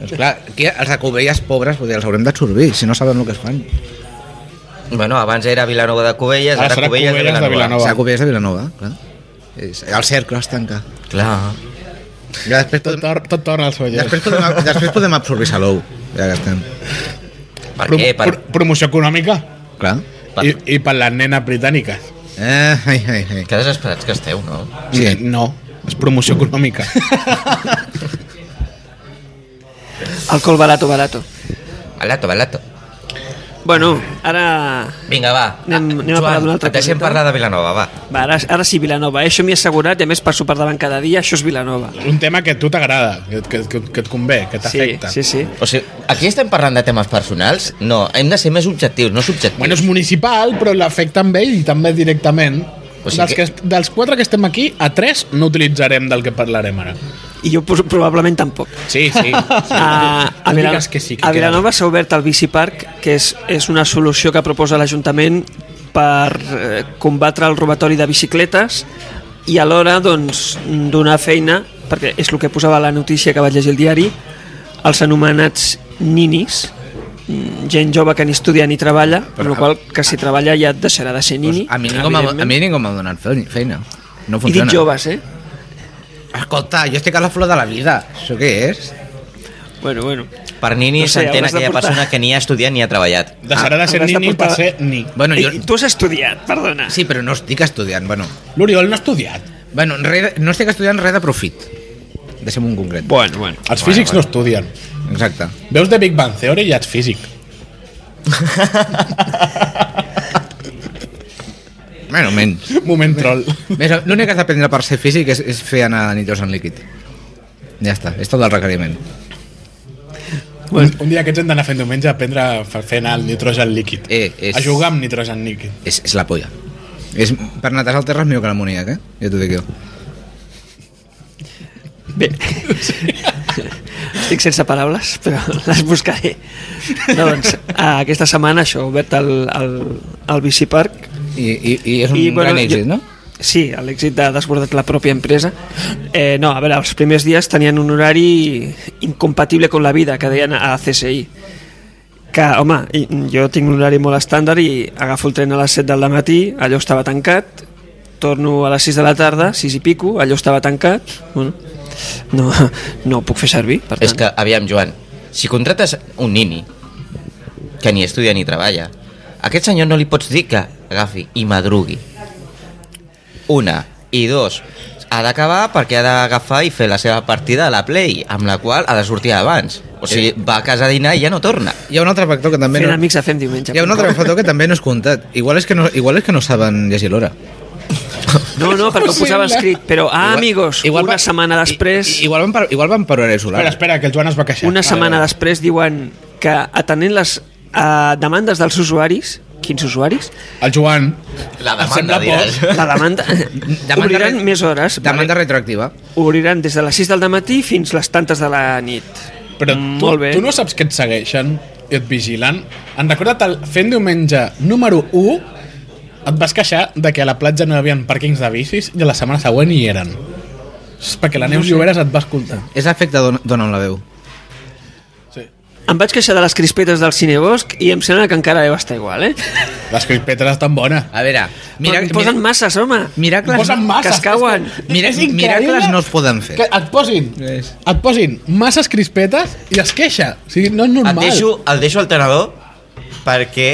Speaker 3: doncs clar, aquí els de Cubelles pobres potser els haurem d'absorbir, si no saben el que es fan.
Speaker 4: Bueno, abans era Vilanova de Covelles,
Speaker 1: Ara
Speaker 4: ara,
Speaker 1: serà
Speaker 4: Covelles,
Speaker 1: Cubelles de Vilanova.
Speaker 4: de Vilanova.
Speaker 3: Serà Cubelles de Vilanova, clar. És, el cercle es tanca.
Speaker 4: Clar.
Speaker 3: Ja després,
Speaker 1: Tot,
Speaker 3: podem,
Speaker 1: tor tot torna al seu lloc.
Speaker 3: després, podem, després podem absorbir Salou, ja que estem.
Speaker 4: Per
Speaker 1: Pro-
Speaker 4: què? Per...
Speaker 1: pro- promoció econòmica
Speaker 3: Clar.
Speaker 4: Per-
Speaker 1: I, i per les nenes britàniques.
Speaker 3: Eh, ai, ai, ai.
Speaker 4: Que desesperats que esteu, no?
Speaker 3: Sí.
Speaker 1: Eh, No, és promoció econòmica.
Speaker 2: Alcohol barato, barato.
Speaker 4: Balato, balato.
Speaker 2: Bueno, ara...
Speaker 4: Vinga, va.
Speaker 2: Anem- anem a
Speaker 4: Joan,
Speaker 2: parlar d'una altra
Speaker 4: et deixem
Speaker 2: coseta.
Speaker 4: parlar de Vilanova, va.
Speaker 2: Va, ara, ara sí, Vilanova. eh? Això m'hi he assegurat i a més passo per davant cada dia. Això és Vilanova.
Speaker 1: Un tema que a tu t'agrada, que, que, que, que et convé, que
Speaker 2: Sí,
Speaker 1: t'afecta.
Speaker 2: sí, sí.
Speaker 4: O sigui, aquí estem parlant de temes personals? No, hem de ser més objectius, no subjectius.
Speaker 1: Bueno, és municipal, però l'afecta amb ell i també directament.
Speaker 4: O
Speaker 1: O sigui
Speaker 4: sigui
Speaker 1: dels,
Speaker 4: que-
Speaker 1: que... Que, dels quatre que estem aquí, a tres no utilitzarem del que parlarem ara.
Speaker 2: I jo pos- probablement tampoc.
Speaker 1: Sí, sí. sí.
Speaker 2: A, Ah, a,
Speaker 1: Tu
Speaker 2: Vilan
Speaker 1: digues que sí, que
Speaker 2: a
Speaker 1: queda
Speaker 2: Vilanova s'ha obert el biciparc, que és, és una solució que proposa l'Ajuntament per eh, combatre el robatori de bicicletes i alhora doncs, donar feina, perquè és el que posava la notícia que vaig llegir al diari, als anomenats ninis, mm, gent jove que ni estudia ni treballa, amb la qual cosa, que si treballa ja deixarà de ser
Speaker 3: Pues
Speaker 2: nini.
Speaker 3: a mi ningú m'ha a
Speaker 2: evidentment.
Speaker 3: mi ningú m'ha donat fe- feina. No
Speaker 2: I
Speaker 3: funciona.
Speaker 2: dic joves, eh?
Speaker 3: Escolta, jo estic a la flor de la vida. Això què és?
Speaker 2: Bueno, bueno.
Speaker 4: Per nini
Speaker 2: No
Speaker 4: no
Speaker 2: sé,
Speaker 4: s'entén
Speaker 2: hauràs de
Speaker 4: aquella
Speaker 2: portar-
Speaker 4: persona que ni ha estudiat ni ha treballat.
Speaker 1: Deixarà de ser
Speaker 2: Hauràs de
Speaker 1: nini
Speaker 2: portar-
Speaker 1: per ser ni.
Speaker 3: Bueno, jo...
Speaker 2: I Eh, tu has estudiat, perdona.
Speaker 3: Sí, però no estic estudiant, bueno.
Speaker 1: L'Oriol no ha estudiat.
Speaker 3: Bueno, re, no estic estudiant res de profit. Deixem un concret.
Speaker 2: Bueno, bueno.
Speaker 1: Els físics no estudien.
Speaker 3: Exacte.
Speaker 1: Veus de Big Bang Theory i ja ets físic.
Speaker 3: Bueno, menys.
Speaker 1: Moment troll.
Speaker 3: Més, l'únic que has d'aprendre per ser físic és, és fer anar nitros en líquid. Ja està, és tot el requeriment.
Speaker 1: Un, un dia aquests hem d'anar fent diumenge a aprendre a fer anar el nitrogen líquid.
Speaker 3: Eh, és-
Speaker 1: A jugar amb nitrogen líquid.
Speaker 3: És, és la polla. És, per netejar el terra és millor que l'amoníac, eh? Ja t'ho dic jo.
Speaker 2: Bé, estic sense paraules, però les buscaré. No, doncs, eh, aquesta setmana això, ha obert el, el, el biciparc.
Speaker 3: I, i, i és un I, bueno, gran èxit, no?
Speaker 2: Sí, l'èxit de desbordat la pròpia empresa. Eh, no, a veure, els primers dies tenien un horari incompatible con la vida, que deien a CSI. Que, home, i- jo tinc un horari molt estàndard i agafo el tren a les 7 del matí, allò estava tancat, torno a les 6 de la tarda, 6 i pico, allò estava tancat, bueno, no, no ho puc fer servir, per tant.
Speaker 4: És que, aviam, Joan, si contrates un nini que ni estudia ni treballa, a aquest senyor no li pots dir que agafi i madrugui. Una. I dos, ha d'acabar perquè ha d'agafar i fer la seva partida a la Play, amb la qual ha de sortir abans. O sigui, va a casa a dinar i ja no torna.
Speaker 3: Hi ha un altre factor que també...
Speaker 2: Fent
Speaker 3: no...
Speaker 2: amics a fem diumenge.
Speaker 3: Hi ha un altre factor que també no és comptat. Igual és que no, igual és que no saben llegir l'hora.
Speaker 2: No, no, perquè ho posava escrit, però, ah, amigos, igual, una
Speaker 3: va-
Speaker 2: setmana després...
Speaker 3: I, igual van per, igual van per horari solar.
Speaker 1: Espera, espera, que el Joan es va queixar.
Speaker 2: Una setmana
Speaker 1: Vale,
Speaker 2: després diuen que atenent les eh, demandes dels usuaris, quins usuaris?
Speaker 1: vale. El Joan...
Speaker 4: La
Speaker 1: em sembla
Speaker 4: demanda, diràs.
Speaker 1: poc.
Speaker 2: La demanda...
Speaker 3: Demanda
Speaker 2: obriran
Speaker 3: re-
Speaker 2: més hores.
Speaker 3: Demanda retroactiva.
Speaker 2: Vale? Obriran des de les 6 del matí fins les tantes de la nit.
Speaker 1: Però
Speaker 2: Mm,
Speaker 1: tu,
Speaker 2: Molt bé.
Speaker 1: tu no saps que et segueixen i et vigilen? Han recordat el fent diumenge número 1 et vas queixar de que a la platja no hi havia pàrquings de bicis i a la setmana següent hi eren. És perquè la Neus Lloberes et va escoltar.
Speaker 3: És l'efecte don, dona amb la veu.
Speaker 1: Sí.
Speaker 2: Em vaig queixar de les crispetes del Cinebosc i em sembla que encara deu estar igual, eh?
Speaker 1: Les crispetes estan bones.
Speaker 3: A veure,
Speaker 2: Mira,
Speaker 3: mira,
Speaker 2: em Ah. posen
Speaker 3: mira,
Speaker 2: masses, home.
Speaker 3: miracles,
Speaker 1: Posen masses.
Speaker 2: que es cauen.
Speaker 3: mira,
Speaker 1: És increïble
Speaker 3: miracles no es poden fer.
Speaker 1: Que et posin,
Speaker 3: És.
Speaker 1: et posin masses crispetes i es queixa. O sigui, no és
Speaker 4: Et
Speaker 1: normal.
Speaker 4: deixo, el deixo al tenedor perquè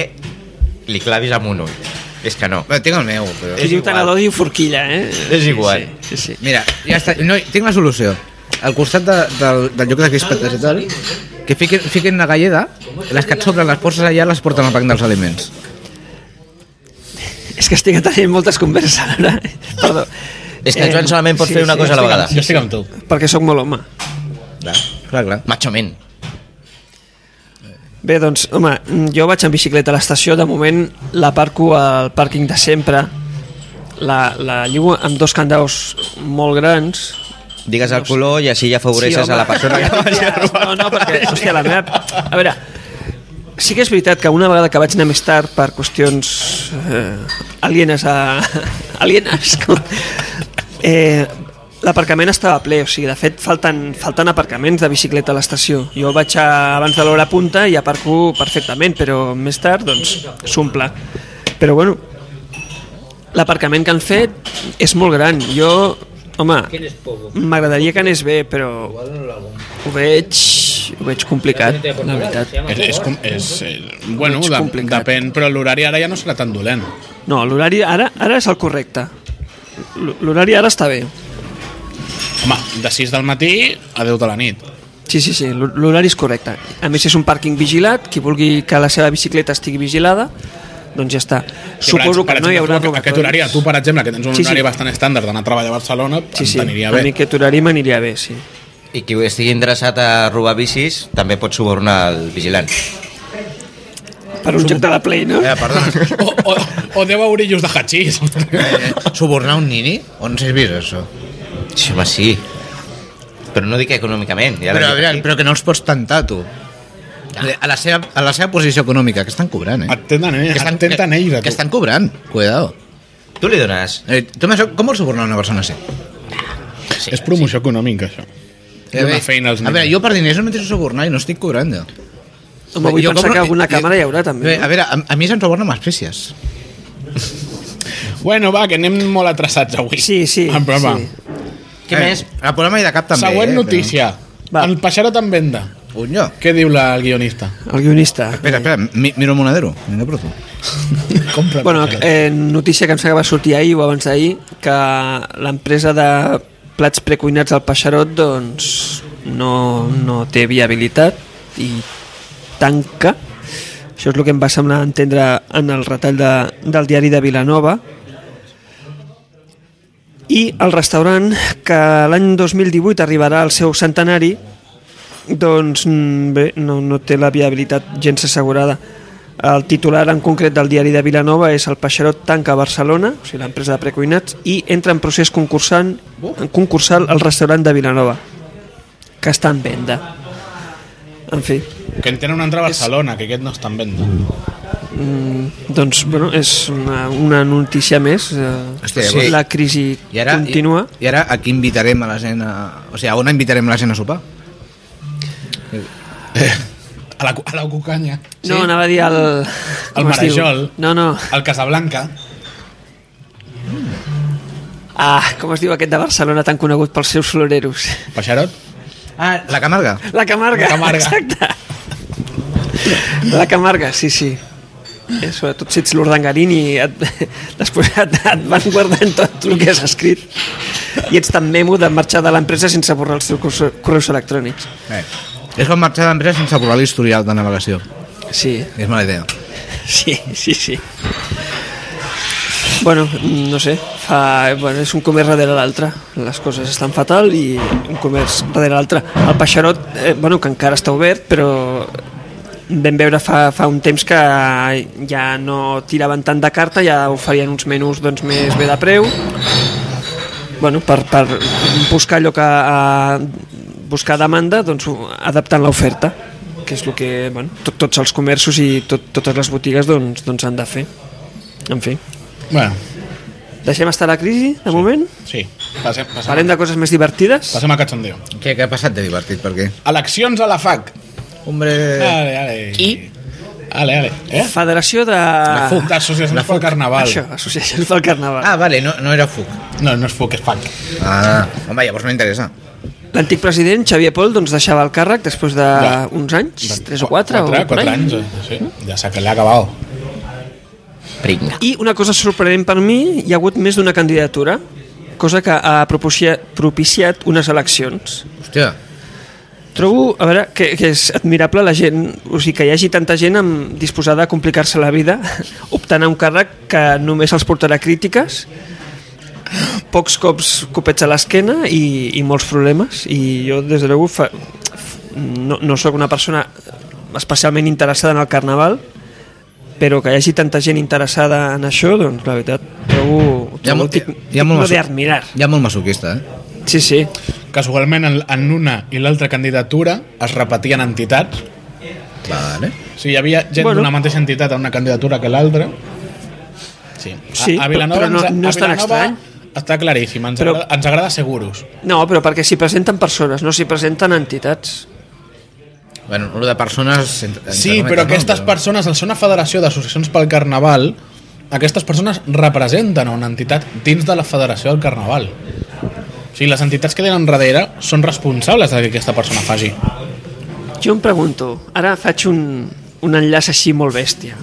Speaker 4: li clavis amb un ull. És que no.
Speaker 3: Bueno, tinc el meu, però...
Speaker 2: Qui
Speaker 4: és
Speaker 2: diu
Speaker 4: igual.
Speaker 2: tanador diu forquilla, eh?
Speaker 4: És igual.
Speaker 2: Sí, sí. sí.
Speaker 3: Mira, ja està, no, tinc la solució. Al costat de, del, del lloc de crispetes i tal, que fiquen, fiquen una galleda, les que et sobren les forces allà les porten al banc dels aliments.
Speaker 2: És que estic tenint moltes converses ara. Perdó.
Speaker 4: És que el Joan
Speaker 2: Eh,
Speaker 4: solament pot
Speaker 2: sí,
Speaker 4: fer una
Speaker 2: sí,
Speaker 4: cosa a la
Speaker 2: estic
Speaker 4: vegada.
Speaker 1: Jo estic amb tu.
Speaker 2: amb- Perquè sóc molt home.
Speaker 3: Clar, clar.
Speaker 4: Macho men.
Speaker 2: Bé, doncs, home, jo vaig en bicicleta a l'estació, de moment la parco al pàrquing de sempre, la, la lligo amb dos candaus molt grans,
Speaker 4: Digues el color i així ja afavoreixes
Speaker 2: home.
Speaker 4: a la persona que vagi a robar.
Speaker 2: No, no, perquè, hòstia, la meva... A veure, sí que és veritat que una vegada que vaig anar més tard per qüestions eh, alienes a... alienes, com... Eh, L'aparcament estava ple, o sigui, de fet falten, falten aparcaments de bicicleta a l'estació. Jo vaig a, abans de l'hora punta i aparco perfectament, però més tard, doncs, s'omple. Però bueno, l'aparcament que han fet és molt gran. Jo, home, m'agradaria que anés bé, però ho veig, ho veig complicat, la veritat.
Speaker 1: És, és, com, és, eh, bueno,
Speaker 2: Mig
Speaker 1: de,
Speaker 2: complicat.
Speaker 1: depèn, però l'horari ara ja no serà tan dolent.
Speaker 2: No, l'horari ara ara és el correcte. L- L'horari ara està bé.
Speaker 1: Home, de 6 del matí a 10 de la nit.
Speaker 2: Sí, sí, sí, l'hor- l'horari és correcte. A més, és un pàrquing vigilat, qui vulgui que la seva bicicleta estigui vigilada, doncs ja està.
Speaker 1: Sí, per
Speaker 2: Suposo
Speaker 1: ex- per
Speaker 2: que no hi
Speaker 1: exemple,
Speaker 2: haurà
Speaker 1: tu, Aquest horari,
Speaker 2: robatoris.
Speaker 1: tu, per exemple, que tens un
Speaker 2: Sí, sí.
Speaker 1: horari bastant estàndard d'anar a treballar a Barcelona,
Speaker 2: Sí, sí,
Speaker 1: t'aniria
Speaker 2: a mi
Speaker 1: bé.
Speaker 2: aquest horari m'aniria bé, sí.
Speaker 4: I qui estigui interessat a robar bicis també pot subornar el vigilant.
Speaker 2: Per un joc de la Play, no?
Speaker 3: Eh, perdona.
Speaker 1: O, o, o 10 eurillos de hachís.
Speaker 4: Eh,
Speaker 3: Subornar un nini? On s'ha vist això?
Speaker 4: Sí, home, sí. Però no dic econòmicament. Ja
Speaker 3: Però,
Speaker 4: l'he
Speaker 3: a
Speaker 4: dit
Speaker 3: veure,
Speaker 4: aquí.
Speaker 3: però que no els pots tentar, tu. A la seva, a la seva posició econòmica, que estan cobrant, eh?
Speaker 1: Et tenen, eh?
Speaker 3: Que estan,
Speaker 1: Et tenen ells, a
Speaker 3: que
Speaker 1: tu.
Speaker 3: estan cobrant, cuidado.
Speaker 4: Tu li dones?
Speaker 3: Eh, tu, amb això, com vols subornar una persona així?
Speaker 1: Sí, és promoció sí. econòmica, això.
Speaker 3: Eh,
Speaker 1: Donar
Speaker 3: bé,
Speaker 1: feina als
Speaker 3: a veure,
Speaker 1: nens.
Speaker 3: jo per diners no m'interesso subornar i no estic cobrant, jo.
Speaker 2: Home, vull
Speaker 3: Jo
Speaker 2: pensar
Speaker 3: compro-
Speaker 2: que alguna
Speaker 3: jo-
Speaker 2: càmera hi haurà,
Speaker 3: Bé,
Speaker 2: també.
Speaker 3: a veure, a, a mi se'm suborna amb espècies.
Speaker 1: Bueno, va, que anem molt atreçats avui.
Speaker 2: Sí, sí,
Speaker 1: En programa.
Speaker 2: sí.
Speaker 4: Què
Speaker 3: eh,
Speaker 4: més?
Speaker 3: El problema hi de cap també.
Speaker 1: Següent
Speaker 3: eh,
Speaker 1: notícia.
Speaker 2: Va.
Speaker 1: El Pajarot en venda.
Speaker 3: Però... Unyo.
Speaker 1: Què diu la, el guionista?
Speaker 2: El guionista.
Speaker 3: Espera, espera, mi, miro el monedero. Mira per tu.
Speaker 1: Compra el
Speaker 2: Bueno,
Speaker 1: Pajarot.
Speaker 2: eh, notícia que em sembla que va sortir ahir o abans d'ahir, que l'empresa de plats precuinats al Peixarot doncs, no, no té viabilitat i tanca. Això és el que em va semblar entendre en el retall de, del diari de Vilanova. I el restaurant, que l'any 2018 arribarà al seu centenari, doncs mm, bé, no, no té la viabilitat gens assegurada. El titular en concret del diari de Vilanova és el Peixarot tanca a Barcelona, o sigui, l'empresa de precuinats, i entra en procés concursant, en concursal al restaurant de Vilanova, que està en venda. En fi,
Speaker 1: Que en tenen un altre a Barcelona, que aquest no està en venda.
Speaker 2: doncs, bueno, és una, una notícia més. Eh,
Speaker 3: Hòstia,
Speaker 2: sí.
Speaker 3: llavors-
Speaker 2: La crisi
Speaker 3: I ara,
Speaker 2: continua.
Speaker 3: I, I ara a qui invitarem a la gent a... O sigui, a on invitarem la gent a sopar?
Speaker 1: A la, cu- a la Cucanya.
Speaker 2: No, anava a dir el...
Speaker 1: El
Speaker 2: com es diu?
Speaker 1: Marajol.
Speaker 2: No, no.
Speaker 1: Al Casablanca.
Speaker 2: Ah, com es diu aquest de Barcelona tan conegut pels seus floreros?
Speaker 1: Pajarot?
Speaker 3: Ah, la Camarga.
Speaker 2: La Camarga.
Speaker 1: La Camarga.
Speaker 2: Exacte. La Camarga, sí, sí. Eh, sobretot si ets l'Urdangarín i et, després et, et van guardant tot el que has escrit i ets tan memo de marxar de l'empresa sense borrar els teus correus- correus electrònics.
Speaker 3: Eh. És com marxar d'empresa sense borrar l'historial de navegació.
Speaker 2: Sí, eh?
Speaker 3: És mala idea.
Speaker 2: sí, sí, sí. Bueno, no sé, fa, bueno, és un comerç darrere l'altre. Les coses estan fatal i un comerç darrere l'altre. El Peixarot, eh, bueno, que encara està obert, però vam veure fa, fa un temps que ja no tiraven tant de carta, ja oferien uns menús doncs, més bé de preu. Bueno, per, per buscar allò que... A, buscar demanda, doncs ho- adaptant l'oferta que és el que bueno, tot, tots els comerços i tot, totes les botigues doncs, doncs han de fer. En fi.
Speaker 1: Bueno,
Speaker 2: Deixem estar la crisi, de moment?
Speaker 1: sí. Passem, passem,
Speaker 2: Parlem de coses més divertides?
Speaker 1: passem al cachondeo.
Speaker 3: Què, què ha passat de divertit, per què?
Speaker 1: Eleccions a la FAC.
Speaker 3: Hombre...
Speaker 1: Ale, ale.
Speaker 2: Qui?
Speaker 1: Ale, ale. Eh?
Speaker 2: Federació de...
Speaker 1: La FUC, d'associacions pel carnaval.
Speaker 2: Això, Associacions pel Carnaval.
Speaker 3: Ah, vale, no, no era Fuc.
Speaker 1: No, no és FUC, és FAC.
Speaker 3: Ah, home, llavors no interessa.
Speaker 2: L'antic president, Xavier Pol, doncs deixava el càrrec després d'uns anys, 3
Speaker 1: Doncs,
Speaker 2: o 4,
Speaker 1: Quatre,
Speaker 2: o per
Speaker 1: quatre
Speaker 2: ahí.
Speaker 1: anys, eh? sí. Ja s'ha que l'ha acabat.
Speaker 4: Pringa.
Speaker 2: I una cosa sorprenent per mi, hi ha hagut més d'una candidatura, cosa que ha propicia- propiciat unes eleccions.
Speaker 3: Hòstia.
Speaker 2: Trobo, a veure, que, que és admirable la gent, o sigui, que hi hagi tanta gent amb, disposada a complicar-se la vida optant a un càrrec que només els portarà crítiques, pocs cops copets a l'esquena i, i molts problemes, i jo, des de l'eu, fa, no, no sóc una persona especialment interessada en el carnaval, però que hi hagi tanta gent interessada en això, doncs la veritat, trobo,
Speaker 3: Hi ha,
Speaker 2: trobo
Speaker 3: molt,
Speaker 2: tic-
Speaker 3: hi, ha molt
Speaker 2: digno de
Speaker 3: maso-
Speaker 2: admirar.
Speaker 3: hi ha molt masoquista, eh?
Speaker 2: Sí, sí.
Speaker 1: Casualment, en, en una i l'altra candidatura es repetien entitats.
Speaker 3: Vale.
Speaker 1: O sigui, hi havia gent
Speaker 2: Bueno.
Speaker 1: bueno. d'una mateixa entitat en una candidatura que l'altra. Sí.
Speaker 2: Sí, però no-
Speaker 1: ens-
Speaker 2: no és tan
Speaker 1: Vilanova
Speaker 2: estrany.
Speaker 1: Està claríssim, ens,
Speaker 2: Però-
Speaker 1: però... agrada, ens agrada seguros.
Speaker 2: No, però perquè s'hi presenten persones, no s'hi presenten entitats.
Speaker 3: Bueno, lo de persones... entre- entre
Speaker 1: Sí,
Speaker 3: cometes,
Speaker 1: però aquestes
Speaker 3: no?
Speaker 1: persones, al ser una federació d'associacions pel carnaval, aquestes persones representen a una entitat dins de la federació del carnaval. O sigui, les entitats que tenen darrere són responsables del que aquesta persona faci.
Speaker 2: Jo em pregunto, ara faig un, un enllaç així molt bèstia.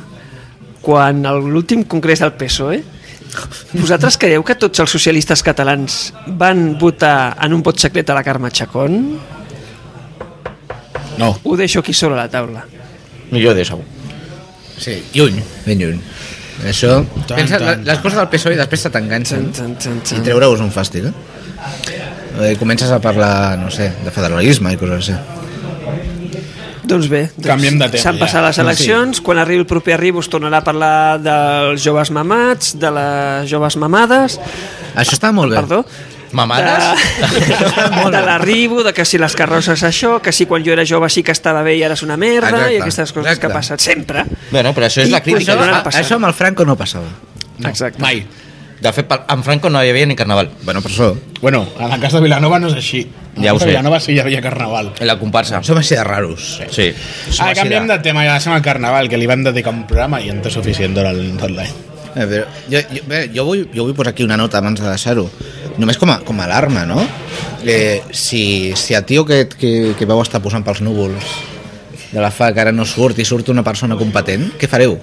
Speaker 2: Quan a l'últim congrés del PSOE, E, vosaltres creieu que tots els socialistes catalans van votar en un vot secret a la Carme Chacón?
Speaker 1: No.
Speaker 2: Ho deixo aquí sobre la taula.
Speaker 4: Millor de segur.
Speaker 3: Sí, lluny, ben lluny. Això...
Speaker 1: Tan,
Speaker 3: Pensa,
Speaker 1: tan,
Speaker 3: la- les coses del PSOE després se t'enganxen.
Speaker 2: Tan, tan, tan,
Speaker 3: I
Speaker 2: tan.
Speaker 3: treure-us un fàstic, eh? eh? Comences a parlar, no sé, de federalisme i coses així.
Speaker 2: Doncs bé, doncs
Speaker 1: Canviem de tema,
Speaker 2: s'han
Speaker 1: ja.
Speaker 2: passat les
Speaker 1: Sí.
Speaker 2: eleccions, quan arribi el proper arribo es tornarà a parlar dels joves mamats, de les joves mamades,
Speaker 3: Això està molt bé.
Speaker 2: perdó,
Speaker 4: Mamades?
Speaker 1: Ah.
Speaker 2: de, de l'arribo, de que si les carrosses això, que si quan jo era jove sí que estava bé i ara és una merda,
Speaker 3: Exacte,
Speaker 2: i aquestes coses
Speaker 3: exacte.
Speaker 2: que passen sempre.
Speaker 4: Bueno, però això és la crítica.
Speaker 3: Això,
Speaker 2: no n'ha
Speaker 3: a,
Speaker 2: passat.
Speaker 3: Ah, això amb el Franco no passava.
Speaker 1: no
Speaker 2: Exacte.
Speaker 1: Mai.
Speaker 4: De fet, pel- en Franco no hi havia ni carnaval.
Speaker 3: Bueno, per això...
Speaker 1: Bueno, a la casa de Vilanova no és així. A la
Speaker 4: Ja ho
Speaker 1: casa de
Speaker 4: sé.
Speaker 1: Vilanova sí hi havia carnaval.
Speaker 4: En la comparsa.
Speaker 3: Som així de raros.
Speaker 4: Sí.
Speaker 1: Ah, canviem de tema i deixem el carnaval, que li vam dedicar un programa i en té suficient durant tot l'any.
Speaker 3: Eh, però jo, jo, bé, jo, vull, jo vull posar aquí una nota abans de deixar-ho. Només com a, com a alarma, no? Eh, si, si el tio que, que, que vau estar posant pels núvols de la fa que ara no surt i surt una persona competent, què fareu?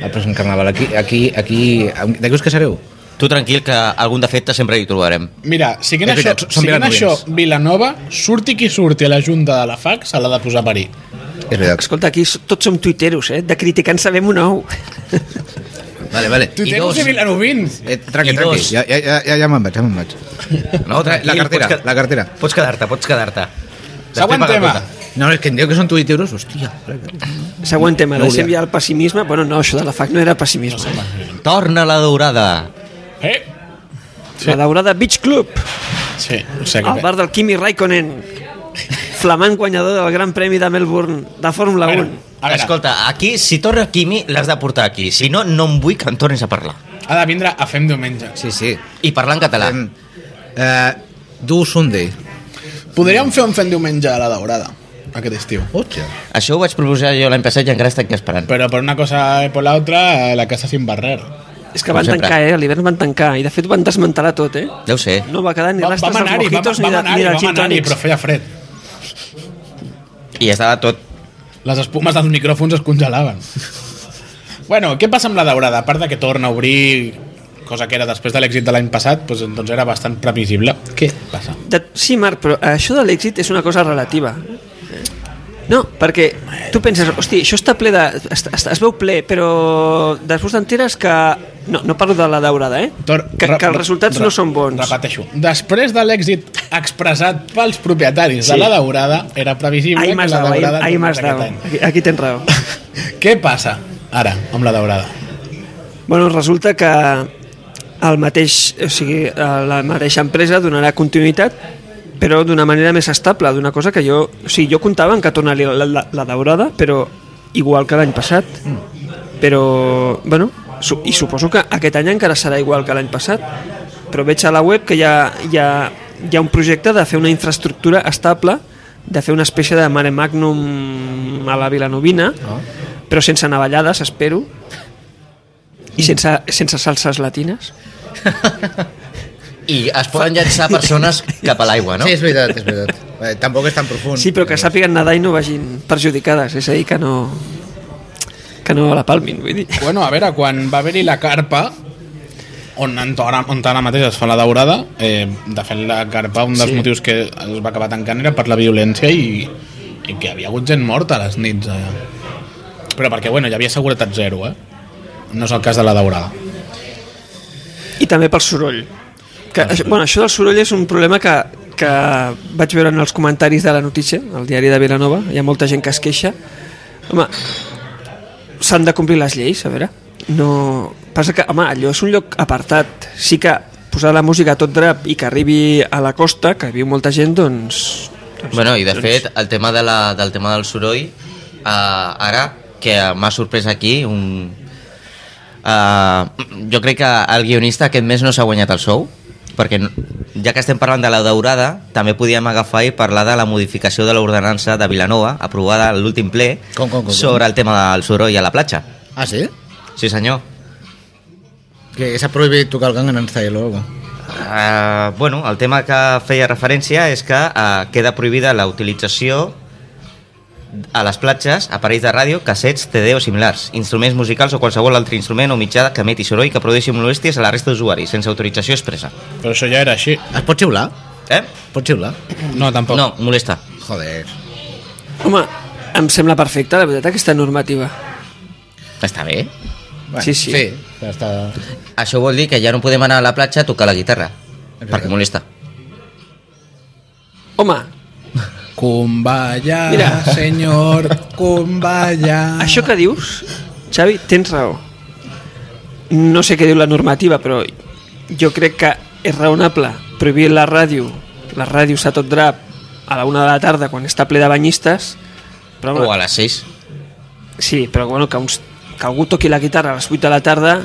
Speaker 3: El present carnaval, aquí, aquí, aquí... amb- De què us casareu?
Speaker 4: Tu tranquil, que algun defecte sempre hi trobarem.
Speaker 1: Mira, siguent
Speaker 3: És
Speaker 1: això,
Speaker 3: veritat, són
Speaker 1: siguent això
Speaker 3: vilanovins.
Speaker 1: Vilanova, surti qui surti a la Junta de la FAC, se l'ha de posar a parir.
Speaker 3: És veritat.
Speaker 2: Escolta, aquí s- tots som tuiteros, eh? De criticar en sabem un nou.
Speaker 3: Vale, vale.
Speaker 1: Tu tens de Vilanovins!
Speaker 3: Eh, tranqui,
Speaker 4: I
Speaker 3: tranqui.
Speaker 4: dos.
Speaker 3: Ja, ja, ja, ja, ja me'n vaig, ja me'n vaig. No, tra- la
Speaker 4: Tranquil,
Speaker 3: cartera,
Speaker 4: pots que-
Speaker 3: la cartera.
Speaker 4: Pots quedar-te, pots quedar-te.
Speaker 1: Següent
Speaker 4: Després
Speaker 1: tema.
Speaker 4: paga tota.
Speaker 3: No, és que em diu que són tuiteros, hòstia.
Speaker 2: Següent tema,
Speaker 3: No
Speaker 2: deixem
Speaker 3: volia.
Speaker 2: ja el pessimisme. Bueno, no, això de la FAC no era pessimisme.
Speaker 4: Torna la daurada.
Speaker 1: Eh?
Speaker 2: La daurada Beach Club,
Speaker 1: Sí, o sigui
Speaker 2: al
Speaker 1: que...
Speaker 2: bar del Kimi Raikkonen, flamant guanyador del Gran Premi de Melbourne de Fórmula 1.
Speaker 1: Bueno, a veure,
Speaker 4: Escolta, aquí, si torna Quimi, l'has de portar aquí. Si no, no em vull que em tornis a parlar.
Speaker 1: ha de vindre a Fem Diumenge.
Speaker 3: Sí, sí.
Speaker 4: I parlar en català.
Speaker 3: Em, eh, do Sunday.
Speaker 1: Podríem fer un Fem Diumenge a la Daurada aquest estiu.
Speaker 3: Hòstia.
Speaker 4: Això ho vaig proposar jo l'any passat i encara estic esperant.
Speaker 1: Però per una cosa i per l'altra, la casa sin barrer.
Speaker 2: És que van
Speaker 4: com sempre.
Speaker 2: tancar, eh? A l'hivern van tancar. I de fet van desmantelar tot, eh?
Speaker 4: Ja ho sé.
Speaker 2: No va quedar ni
Speaker 1: Va,
Speaker 2: restes
Speaker 1: vam
Speaker 2: dels
Speaker 1: anar-hi, vam,
Speaker 2: mojitos ni,
Speaker 1: vam
Speaker 2: de, ni
Speaker 1: anar-hi,
Speaker 2: dels
Speaker 1: vam
Speaker 2: gin
Speaker 1: anar-hi, però
Speaker 2: tònics.
Speaker 1: feia fred.
Speaker 4: I estava tot...
Speaker 1: Les espumes dels micròfons es congelaven. bueno, què passa amb la daurada? A part de que torna a obrir cosa que era després de l'èxit de l'any passat, doncs, doncs era bastant previsible. Què passa?
Speaker 2: De... Sí, Marc, però això de l'èxit és una cosa relativa. No, perquè tu penses, hosti, això està ple de... Es, es, es veu ple, però després t'enteres que... No, no parlo de la daurada, eh?
Speaker 1: Tor-
Speaker 2: que,
Speaker 1: re-
Speaker 2: que els resultats
Speaker 1: re-
Speaker 2: no són bons.
Speaker 1: Repeteixo. Després de l'èxit expressat pels propietaris sí.
Speaker 2: Sí.
Speaker 1: de la daurada, era previsible
Speaker 2: Ahir m'has
Speaker 1: que la
Speaker 2: dado, ahir,
Speaker 1: daurada...
Speaker 2: ahir m'has
Speaker 1: tornés
Speaker 2: dado.
Speaker 1: aquest
Speaker 2: Aquí, aquí tens raó.
Speaker 1: any. Què passa ara amb la daurada?
Speaker 2: Bueno, resulta que el mateix, o sigui, eh, la mateixa empresa donarà continuïtat però d'una manera més estable, d'una cosa que jo... O sigui, jo comptava en que tornaria la, la, la daurada, però igual que l'any passat. Però, bueno, su i suposo que aquest any encara serà igual que l'any passat. Però veig a la web que hi ha, hi, ha, hi ha un projecte de fer una infraestructura estable, de fer una espècie de mare magnum a la Vilanovina, però sense navallades, espero, i sense, sense salses latines.
Speaker 4: I es poden llançar persones cap a l'aigua,
Speaker 3: No?
Speaker 4: no?
Speaker 3: Sí, és veritat, és veritat. Eh, tampoc és tan profund.
Speaker 2: Sí, però que sàpiguen nedar i no vagin perjudicades, és a dir, que no que no la palmin, vull dir.
Speaker 1: Bueno, a veure, quan va haver-hi la carpa, on, en- ara, on ara mateix es fa la daurada, eh, de fet la carpa, un dels sí.
Speaker 2: Sí.
Speaker 1: motius que es va acabar tancant era per la violència i, i que hi havia hagut gent morta a les nits. Eh. Però perquè, bueno, hi havia seguretat zero, eh? No és el cas de la daurada.
Speaker 2: I també pel soroll. Que, això, bueno, això del soroll és un problema que, que vaig veure en els comentaris de la notícia, al diari de Vilanova, hi ha molta gent que es queixa, Home, s'han de complir les lleis, a veure. No... Passa que, home, allò és un lloc apartat. Sí que posar la música a tot drap i que arribi a la costa, que viu molta gent, doncs... doncs
Speaker 4: Bueno, i de
Speaker 2: doncs-
Speaker 4: fet, el tema de la, del tema del soroll, eh, ara, que m'ha sorprès aquí, un... Eh, jo crec que el guionista aquest mes no s'ha guanyat el sou, perquè no, ja que estem parlant de la daurada, també podíem agafar i parlar de la modificació de l'ordenança de Vilanova, aprovada en l'últim ple,
Speaker 3: Com, com, com, com?
Speaker 4: sobre el tema del soroll a la platja.
Speaker 3: Ah, sí?
Speaker 4: Sí, senyor.
Speaker 3: Que s'ha prohibit tocar el gang en Anstail o alguna cosa.
Speaker 4: Uh, bueno, el tema que feia referència és que uh, queda prohibida la utilització a les platges, aparells de ràdio, cassets, CD o similars, instruments musicals o qualsevol altre instrument o mitjà que emeti soroll que produeixi molèsties a la resta d'usuaris, sense autorització expressa.
Speaker 1: Però això ja era així.
Speaker 3: Es pot xiular?
Speaker 4: Eh?
Speaker 3: Pot xiular?
Speaker 1: No, tampoc.
Speaker 4: No, molesta.
Speaker 3: Joder.
Speaker 2: Home, em sembla perfecta, la veritat, aquesta normativa.
Speaker 4: Està bé.
Speaker 3: Bueno,
Speaker 2: Sí, sí.
Speaker 3: Sí, ja està...
Speaker 4: Això vol dir que ja no podem anar a la platja a tocar la guitarra, perquè molesta.
Speaker 2: Home,
Speaker 1: Kumbaya,
Speaker 2: Mira.
Speaker 1: senyor, kumbaya.
Speaker 2: Això que dius, Xavi, tens raó. No sé què diu la normativa, però jo crec que és raonable prohibir la ràdio, la ràdio s'ha tot drap a la una de la tarda quan està ple de banyistes, però,
Speaker 4: O a
Speaker 2: home,
Speaker 4: les 6.
Speaker 2: sí, però bueno, que, uns, que algú toqui la guitarra a les 8 de la tarda,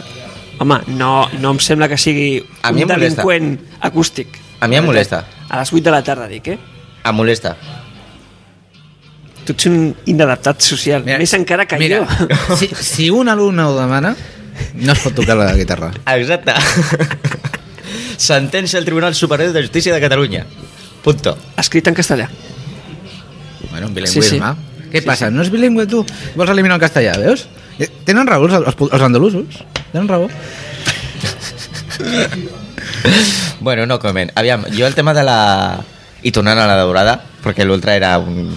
Speaker 2: home, no, no em sembla que sigui
Speaker 4: A
Speaker 2: un
Speaker 4: mi em molesta.
Speaker 2: delinqüent acústic.
Speaker 4: A mi em molesta.
Speaker 2: A les 8 de la tarda, dic, eh?
Speaker 4: Em molesta.
Speaker 2: Tu ets un inadaptat social, mira, més encara que
Speaker 3: mira,
Speaker 2: jo.
Speaker 3: Si, si un alumne ho demana, no es pot tocar la guitarra.
Speaker 4: Exacte. Sentència del Tribunal Superior de Justícia de Catalunya. Punto.
Speaker 2: Escrit en castellà.
Speaker 3: Bueno, un bilingüisme.
Speaker 2: Sí,
Speaker 3: Sí, sí. Què sí, passa? Sí. No és bilingüe, tu? Vols eliminar el castellà, veus? Eh, Tenen raó els, els, els andalusos. Tenen raó.
Speaker 4: Bueno, no comen. Aviam, jo el tema de la... I tornant a la daurada, perquè l'ultra era un...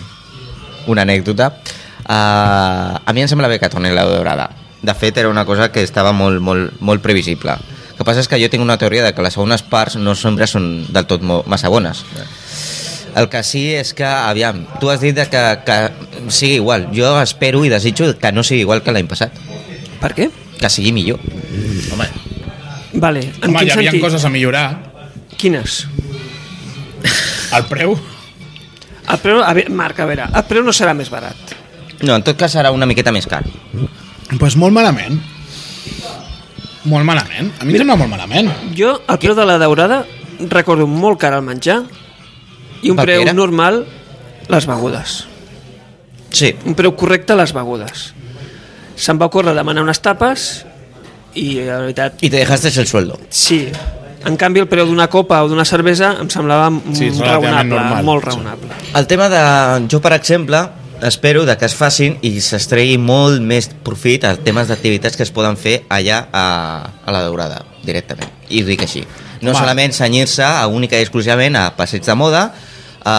Speaker 4: una anècdota, uh, a mi em sembla bé que torni la daurada. De fet, era una cosa que estava molt, molt, molt previsible. El que passa és que jo tinc una teoria de que les segones parts no sempre són del tot mo- massa bones. El que sí és que, aviam, tu has dit de que, que sigui igual. Jo espero i desitjo que no sigui igual que l'any passat.
Speaker 2: Per què?
Speaker 4: Que sigui millor.
Speaker 3: Home,
Speaker 2: Vale, en
Speaker 1: Home,
Speaker 2: quin
Speaker 1: hi havia
Speaker 2: sentit?
Speaker 1: coses a millorar.
Speaker 2: Quines?
Speaker 1: El preu?
Speaker 2: El preu, a veure, Marc, a veure, el preu no serà més barat.
Speaker 4: No, en tot cas serà una miqueta més car.
Speaker 1: Doncs pues molt malament. Molt malament. A mi em sembla molt malament.
Speaker 2: Jo, el preu de la daurada, recordo molt car al menjar i un
Speaker 4: Pel que
Speaker 2: preu
Speaker 4: era?
Speaker 2: normal les begudes.
Speaker 4: Sí.
Speaker 2: Un preu correcte a les begudes. Se'm va ocórrer demanar unes tapes i, eh, la veritat,
Speaker 4: Y te dejaste el sueldo.
Speaker 2: sí. En canvi, el preu d'una copa o d'una cervesa em semblava
Speaker 1: Sí,
Speaker 2: sí,
Speaker 1: és relativament
Speaker 2: raonable,
Speaker 1: normal.
Speaker 2: molt
Speaker 1: Sí.
Speaker 2: raonable.
Speaker 4: El tema de... Jo, per exemple, espero de que es facin i s'estregui molt més profit a temes d'activitats que es poden fer allà a, a la Daurada, directament. I ho dic així. No
Speaker 1: Home.
Speaker 4: solament senyir-se a única i exclusivament a passeig de moda, a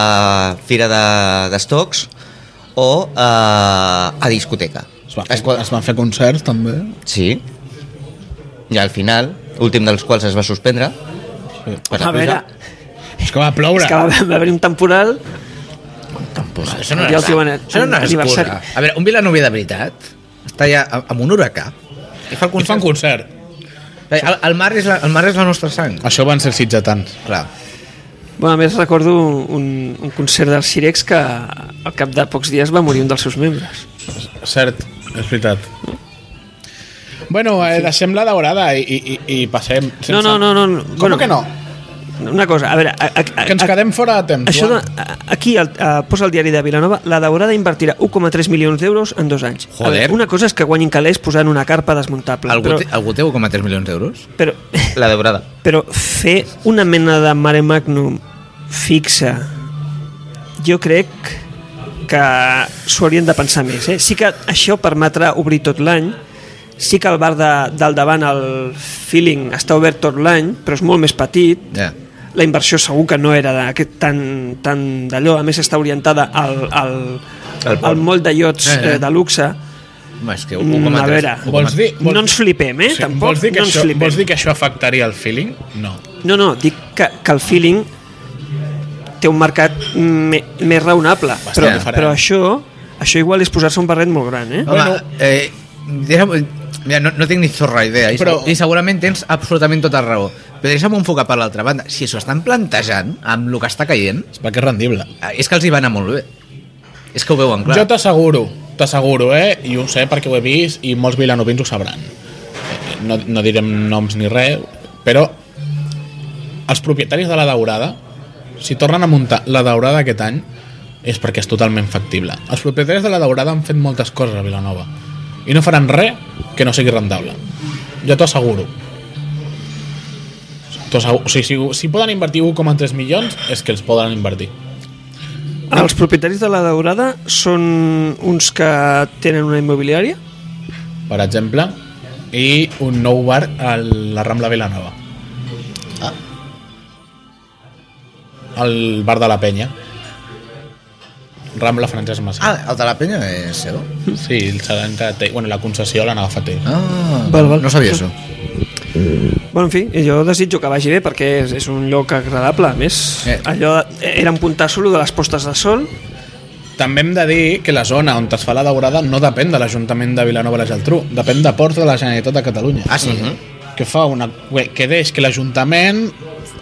Speaker 4: fira de- d'estocs de, o a, a discoteca.
Speaker 1: Es, va fer,
Speaker 4: Es pot-
Speaker 1: es van fer concerts, també.
Speaker 4: Sí. I al final, últim dels quals es va suspendre. Per la
Speaker 2: A veure,
Speaker 4: pluja.
Speaker 1: És que va ploure.
Speaker 2: és que va, va haver un temporal
Speaker 3: Això no
Speaker 2: Ja el
Speaker 3: és
Speaker 2: diuen
Speaker 3: res. Això no és
Speaker 2: aniversari.
Speaker 3: excusa. A veure, un vilanovi de veritat està ja a- amb un huracà. I fa el
Speaker 1: I fan
Speaker 3: concert.
Speaker 1: concert.
Speaker 3: El, el, mar és la, el mar és la nostra sang.
Speaker 1: Això van ser sitgetants.
Speaker 3: Clar.
Speaker 2: Bueno, a més recordo un, un concert dels Sirex que al cap de pocs dies va morir un dels seus membres.
Speaker 1: Cert, és veritat. Bueno, eh, deixem la daurada i, i, i, i passem. Sense...
Speaker 2: No, no, no, no, no.
Speaker 1: Com
Speaker 2: Bueno.
Speaker 1: que no?
Speaker 2: Una cosa, a veure... A, a, a,
Speaker 1: Que ens quedem fora de temps.
Speaker 2: Això de,
Speaker 1: Joan.
Speaker 2: a- aquí el, a, posa el diari de Vilanova la Daurada invertirà 1,3 milions d'euros en dos anys. A
Speaker 3: Joder.
Speaker 2: Veure, una cosa és que guanyin calés posant una carpa desmuntable,
Speaker 3: Algú,
Speaker 2: però,
Speaker 3: té, algú té 1,3 milions d'euros?
Speaker 2: però,
Speaker 4: La Daurada.
Speaker 2: però fer una mena de mare magnum fixa jo crec que s'ho haurien de pensar més eh? sí que això permetrà obrir tot l'any sí que el bar de, del davant el feeling està obert tot l'any però és molt més petit
Speaker 3: Ja.
Speaker 2: la inversió segur que no era d'aquest- tan, tan d'allò, a més està orientada al, al,
Speaker 4: Al
Speaker 2: al,
Speaker 4: port.
Speaker 2: al moll de iots
Speaker 3: Eh, eh.
Speaker 2: eh, de luxe
Speaker 3: Home, és que
Speaker 2: Mm,
Speaker 3: 1,3...
Speaker 2: a veure.
Speaker 3: 1,3.
Speaker 1: Vols dir- vols-
Speaker 2: no ens flipem, eh?
Speaker 1: Sí,
Speaker 2: Tampoc
Speaker 1: vols, dir que
Speaker 2: no ens
Speaker 1: això,
Speaker 2: flipem.
Speaker 1: vols dir que això afectaria el feeling? No.
Speaker 2: No, no, dic que, que el feeling té un mercat me, més raonable,
Speaker 1: Bastant
Speaker 2: però,
Speaker 1: diferent. Ah.
Speaker 2: però això Això igual és posar-se un barret molt gran, eh?
Speaker 3: Home,
Speaker 1: Bueno.
Speaker 3: eh, deixa'm, mira, no, no tinc ni zorra idea, i,
Speaker 1: Però-
Speaker 3: però... i segurament tens absolutament tota raó. Però deixa'm enfocar per l'altra banda. Si s'ho estan plantejant amb el que està caient,
Speaker 1: És perquè és rendible.
Speaker 3: eh, és que els hi va anar molt bé. És que ho veuen clar.
Speaker 1: Jo t'asseguro, t'asseguro, eh? I ho sé perquè ho he vist i molts vilanovins ho sabran. Eh, No, no direm noms ni res, però els propietaris de la daurada, si tornen a muntar la daurada aquest any, és perquè és totalment factible. Els propietaris de la daurada han fet moltes coses a Vilanova i no faran res que no sigui rentable. Jo t'ho asseguro. T'ho asseguro. O sigui, si, si poden invertir 1,3 milions, és que els poden invertir.
Speaker 2: Els propietaris de la Daurada són uns que tenen una immobiliària?
Speaker 1: per exemple, i un nou bar a la Rambla Vilanova. Ah. El bar de la Penya. Rambla Francesc Massé.
Speaker 3: Ah, el de la penya és seu?
Speaker 1: Sí, el seran que té, bueno, la concessió l'han agafat ell.
Speaker 3: Ah,
Speaker 2: Val, val.
Speaker 3: no sabia això.
Speaker 2: Bueno, en fi, jo desitjo que vagi bé perquè és, és un lloc agradable. A més,
Speaker 3: Eh.
Speaker 2: allò era un puntasso lo de les postes de sol.
Speaker 1: També hem de dir que la zona on es fa la daurada no depèn de l'Ajuntament de Vilanova i la Geltrú, depèn de Ports de la Generalitat de Catalunya. Mhm.
Speaker 3: Ah, sí?
Speaker 1: que fa una, bé, que deix que l'Ajuntament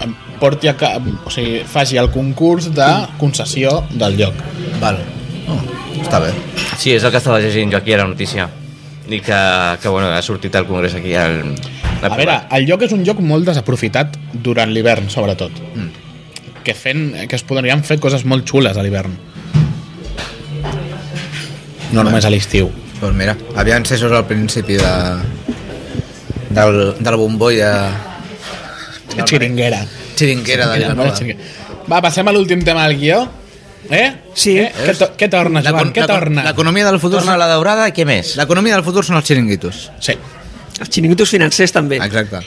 Speaker 1: em, porti a, ca- o sigui, faci el concurs de concessió del lloc.
Speaker 3: Val. Oh, està bé.
Speaker 4: Sí, és el que estava llegint jo aquí a la notícia. I que, que bueno, ha sortit al Congrés aquí al...
Speaker 1: A veure, el lloc és un lloc molt desaprofitat durant l'hivern, sobretot. Que, fent, que es podrien fer coses molt xules a l'hivern. No només a l'estiu.
Speaker 3: Doncs mira, aviam si això és el principi de, del, de la bombolla
Speaker 1: Xiringuera.
Speaker 3: xiringuera de Vilanova.
Speaker 1: Va, passem a l'últim tema del guió. Eh?
Speaker 2: Sí.
Speaker 1: Eh? Què, to què torna, Joan?
Speaker 3: L'econ-
Speaker 1: Què
Speaker 3: l'econ-
Speaker 1: torna?
Speaker 3: L'economia del futur
Speaker 4: Torna a la daurada i què més?
Speaker 3: L'economia del futur són els xiringuitos.
Speaker 1: Sí.
Speaker 2: Els xiringuitos financers també.
Speaker 3: Exacte.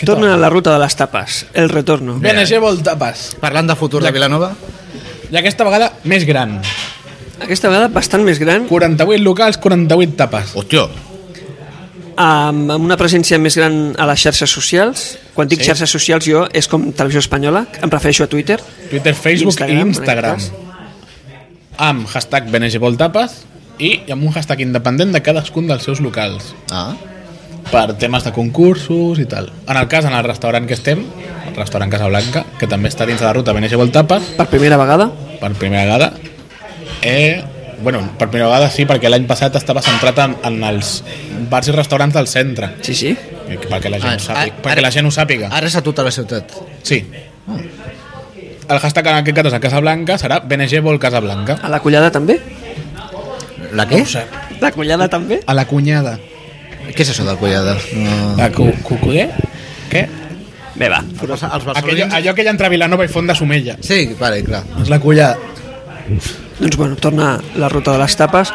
Speaker 1: Què
Speaker 2: Tornen a la ruta de les tapes. El retorno.
Speaker 1: BNG vol tapes.
Speaker 3: Parlant de futur de Vilanova,
Speaker 1: I aquesta vegada més gran.
Speaker 2: Aquesta vegada bastant més gran,
Speaker 1: 48 locals, 48 tapes.
Speaker 3: hòstia,
Speaker 2: amb, amb una presència més gran a les xarxes socials. Quan dic
Speaker 1: Sí.
Speaker 2: xarxes socials jo és com televisió espanyola, em refereixo a Twitter.
Speaker 1: Twitter, Facebook
Speaker 2: Instagram,
Speaker 1: Instagram, i Instagram.
Speaker 2: en
Speaker 1: Amb hashtag BNGVoltapes i amb un hashtag independent de cadascun dels seus locals
Speaker 3: Ah,
Speaker 1: per temes de concursos i tal. En el cas, en el restaurant que estem, el restaurant Casablanca, que també està dins de la ruta BNG Voltapes,
Speaker 2: Per primera vegada.
Speaker 1: per primera vegada, eh, bueno, per primera vegada sí, perquè l'any passat estava centrat en, en els bars i restaurants del centre,
Speaker 2: Sí, sí.
Speaker 1: eh, perquè la gent,
Speaker 3: Ah,
Speaker 1: ho sàpiga,
Speaker 3: ah,
Speaker 1: perquè
Speaker 3: ara-
Speaker 1: la gent ho sàpiga.
Speaker 3: ara és a tota la ciutat.
Speaker 1: Sí. Ah. El hashtag en aquest cas és a Casablanca serà BNG vol Casablanca.
Speaker 2: A la collada també.
Speaker 3: La què?
Speaker 2: La collada també.
Speaker 1: A la cunyada.
Speaker 3: Què és això del Collada? No.
Speaker 1: A cu cucuder? Què?
Speaker 2: Bé, va.
Speaker 3: Els, els
Speaker 1: Aquello,
Speaker 3: barcelonins...
Speaker 1: allò que hi ha entre Vilanova i Font de Somella.
Speaker 3: Sí, vale, clar.
Speaker 1: És la cullada.
Speaker 2: Doncs bueno, torna la ruta de les tapes.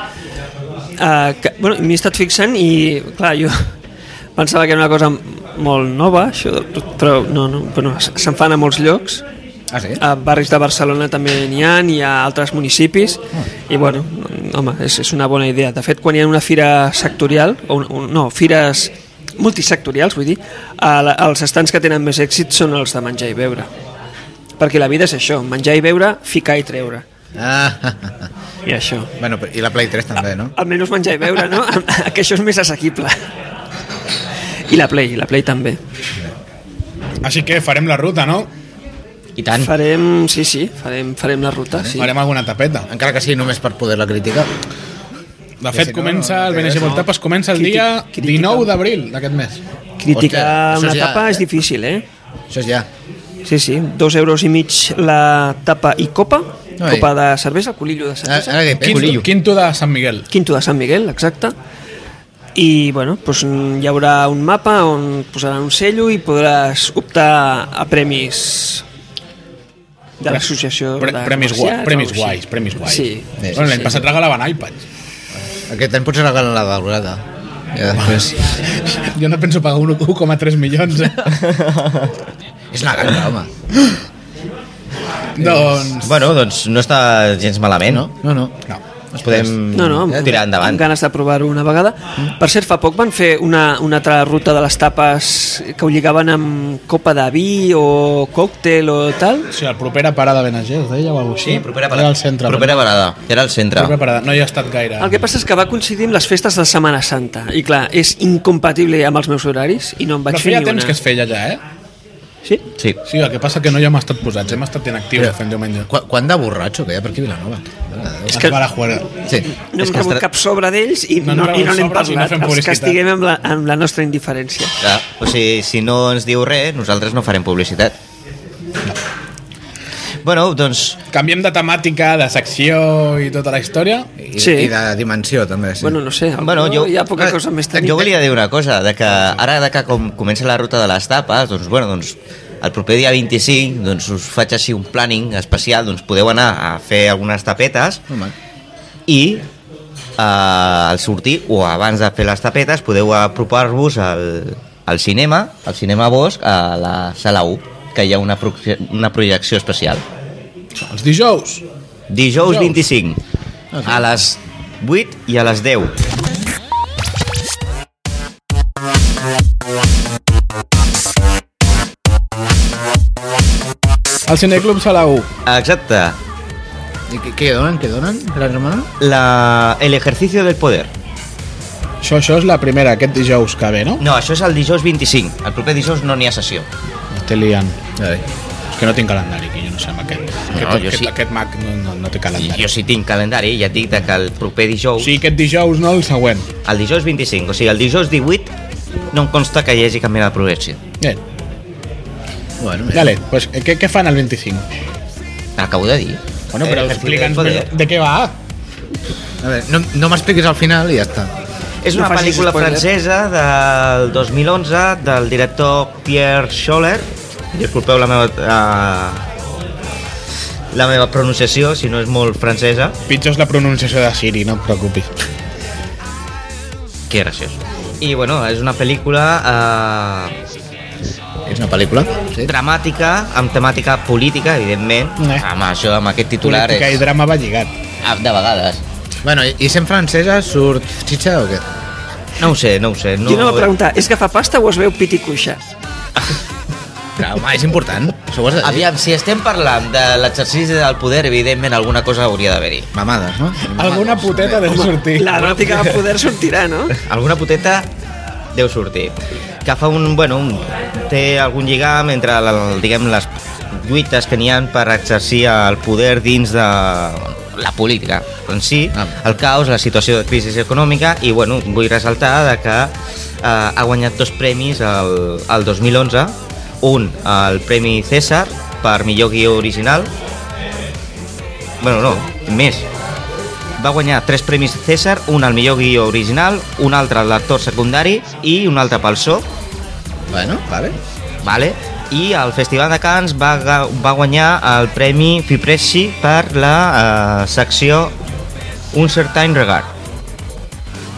Speaker 2: Uh, que, bueno, m'hi he estat fixant i, clar, jo pensava que era una cosa molt nova, això, però no, no, però no se'n fan a molts llocs.
Speaker 3: Ah, sí?
Speaker 2: A barris de Barcelona també n'hi ha, i a altres municipis, i bueno, home, és, és una bona idea. De fet, quan hi ha una fira sectorial, o un, un, no, fires multisectorials, vull dir, a la, els estants que tenen més èxit són els de menjar i beure. Perquè la vida és això, menjar i beure, ficar i treure.
Speaker 3: Ah,
Speaker 2: I això.
Speaker 3: bueno, però- i la Play 3 també, no?
Speaker 2: Almenys menjar i beure, no? que això és més assequible. I la Play, la Play també.
Speaker 1: Així que farem la ruta, no?
Speaker 4: I tant.
Speaker 2: Farem, sí, sí, farem, farem la ruta, sí.
Speaker 1: Sí. Farem alguna tapeta.
Speaker 3: Encara que sigui només per poder-la criticar.
Speaker 1: De fet,
Speaker 3: si no,
Speaker 1: comença
Speaker 3: no
Speaker 1: el
Speaker 3: té
Speaker 1: BNG
Speaker 3: res, no.
Speaker 1: Voltapes comença el
Speaker 2: Criti-
Speaker 1: dia
Speaker 2: crítica.
Speaker 1: 19 d'abril d'aquest mes.
Speaker 2: Criticar
Speaker 3: Hòstia,
Speaker 2: una
Speaker 3: això ja-
Speaker 2: tapa és difícil, eh?
Speaker 3: Això és ja.
Speaker 2: Sí, sí, dos euros i mig la tapa i copa,
Speaker 3: Ai.
Speaker 2: copa de cervesa, colillo de
Speaker 7: Ah,
Speaker 3: Ara,
Speaker 2: cervesa,
Speaker 3: ara què,
Speaker 1: Quinto, quinto de Sant Miguel.
Speaker 2: quinto de Sant Miguel, exacte, i bueno, doncs mm, hi haurà un mapa on posaran un cello i podràs optar a premis de l'associació
Speaker 1: Pre
Speaker 2: de
Speaker 1: premis,
Speaker 2: comerciants
Speaker 1: guai,
Speaker 2: o
Speaker 1: premis
Speaker 2: alguna cosa així.
Speaker 1: guais, premis guais.
Speaker 2: Sí.
Speaker 3: Sí,
Speaker 1: Bueno, L'any
Speaker 3: sí,
Speaker 1: passat regalaven iPads.
Speaker 3: Aquest any potser regalen la daurada. Ja després...
Speaker 1: Jo no penso pagar un 1,3 milions. Eh?
Speaker 3: és una gana, home.
Speaker 1: doncs...
Speaker 4: Bueno, doncs no està doncs gens malament, no?
Speaker 3: No, no.
Speaker 1: No.
Speaker 4: Ens podem
Speaker 2: No, no, amb-
Speaker 4: tirar endavant.
Speaker 2: Amb ganes de provar-ho una vegada.
Speaker 1: Mm.
Speaker 2: Per cert, fa poc van fer una, una altra ruta de les tapes que ho lligaven amb copa de vi o còctel o tal.
Speaker 1: O sigui, la propera parada a Benagés, deia o alguna cosa
Speaker 4: Sí,
Speaker 1: així.
Speaker 4: propera
Speaker 1: Era
Speaker 4: parada.
Speaker 1: al centre.
Speaker 4: Propera parada. Era al centre.
Speaker 1: Propera parada. No hi ha estat gaire.
Speaker 2: El que passa és que va coincidir amb les festes de Setmana Santa i clar, és incompatible amb els meus horaris i no em vaig
Speaker 1: Però
Speaker 2: fer
Speaker 1: feia
Speaker 2: ni
Speaker 1: temps
Speaker 2: una.
Speaker 1: que es feia ja, eh?
Speaker 2: Sí?
Speaker 4: Sí.
Speaker 1: Sí, el que passa que no hi hem estat posats, hem estat inactius fent diumenge.
Speaker 7: Qu quan de borratxo que hi ha per aquí a Vilanova. Mare de Déu.
Speaker 1: Es
Speaker 2: que-
Speaker 1: que... va a jugar.
Speaker 7: Sí.
Speaker 2: No
Speaker 4: És
Speaker 2: hem
Speaker 4: que
Speaker 2: rebut
Speaker 4: estarà-
Speaker 2: cap sobre d'ells i
Speaker 1: No
Speaker 2: no,
Speaker 1: hem rebut
Speaker 2: no, i no n'hem
Speaker 1: sobres i no
Speaker 2: parlat.
Speaker 1: fem
Speaker 2: No els
Speaker 1: publicitat.
Speaker 2: castiguem amb la, amb la nostra indiferència.
Speaker 4: Clar. O sigui, si no ens diu res, nosaltres no farem publicitat. Bueno, doncs...
Speaker 1: Canviem de temàtica, de secció i tota la història.
Speaker 7: I,
Speaker 2: Sí.
Speaker 7: I de dimensió, també. Sí.
Speaker 2: Bueno, no sé,
Speaker 4: Bueno, jo, eh,
Speaker 2: hi ha poca cosa més tenim.
Speaker 4: Jo volia dir una cosa, de que ara de que com comença la ruta de les tapes, doncs, bueno, doncs, el proper dia 25 doncs, us faig així un planning especial, doncs podeu anar a fer algunes tapetes
Speaker 7: Home,
Speaker 4: i eh, al sortir o abans de fer les tapetes podeu apropar-vos al, al cinema, al cinema Bosch, a la sala 1, que hi ha una, proje- una projecció especial.
Speaker 1: Els dijous.
Speaker 4: Dijous 25, a les 8 i a les 10.
Speaker 1: Al Cineclub Sala 1.
Speaker 4: Exacte,
Speaker 7: I què, què donen? Què donen? La setmana?
Speaker 4: la, el ejercicio del poder.
Speaker 1: Això, això és la primera, aquest dijous que ve, no?
Speaker 4: No, això és el dijous 25. El proper dijous no n'hi ha sessió.
Speaker 1: Te liant.
Speaker 7: Ai.
Speaker 1: És que no tinc calendari, que jo no sé amb aquest. aquest,
Speaker 4: jo
Speaker 1: aquest,
Speaker 4: sí.
Speaker 1: aquest Mac no, no, no té
Speaker 4: I
Speaker 1: calendari.
Speaker 4: jo sí tinc calendari, ja et dic de que el proper
Speaker 1: O
Speaker 4: dijous...
Speaker 1: sigui, aquest dijous, no el següent.
Speaker 4: El dijous 25, o sigui, el dijous 18 no em consta que hi hagi cap mena de progressió.
Speaker 1: Bé,
Speaker 7: Bueno, mira.
Speaker 1: vale, pues, eh, què, què fan el 25?
Speaker 4: Acabo de dir.
Speaker 1: Bueno, però
Speaker 4: El ejercicio del
Speaker 1: explica'ns
Speaker 4: poder.
Speaker 1: millor de què va.
Speaker 7: A veure, no, no m'expliquis al final i ja està.
Speaker 4: És una
Speaker 2: No facis
Speaker 4: pel·lícula
Speaker 2: spoiler.
Speaker 4: francesa del 2011 del director Pierre Scholler. Disculpeu la meva... Eh, la meva pronunciació, si no és molt francesa.
Speaker 1: Pitjor és la pronunciació de Siri, no et preocupis.
Speaker 4: Que graciós. I bueno, és una pel·lícula eh,
Speaker 7: És una pel·lícula. Sí.
Speaker 4: dramàtica, amb temàtica política, evidentment.
Speaker 1: Eh.
Speaker 4: Amb això, amb aquest titular
Speaker 1: Política i
Speaker 4: és...
Speaker 1: drama va lligat.
Speaker 4: Ah, De vegades.
Speaker 7: Bueno, i, i sent francesa surt xitxa o què?
Speaker 4: No ho sé, no ho sé.
Speaker 2: No,
Speaker 4: No,
Speaker 2: jo no va preguntar, és que fa pasta o es veu pit i cuixa?
Speaker 7: Però, home, és important. Això ho has de dir.
Speaker 4: Aviam, si estem parlant de l'exercici del poder, evidentment alguna cosa hauria d'haver-hi.
Speaker 7: Mamades, no?
Speaker 1: Alguna puteta deu sortir.
Speaker 2: La eròtica de poder sortirà, no?
Speaker 4: Alguna puteta deu sortir. Que fa un... Bueno, un, té algun lligam entre, el, diguem, les lluites que n'hi ha per exercir el poder dins de la política en si,
Speaker 7: Ah.
Speaker 4: el caos, la situació de crisi econòmica i bueno, vull ressaltar de que eh, ha guanyat dos premis el, el 2011 un, el Premi César per millor guió original bueno, no, més va guanyar tres premis César, un al millor guió original, un altre al l'actor secundari i un altre pel so,
Speaker 7: Bueno, vale.
Speaker 4: vale? i al Festival de Cants va, ga- va guanyar el premi Fipresci per la eh, secció Un certain regard.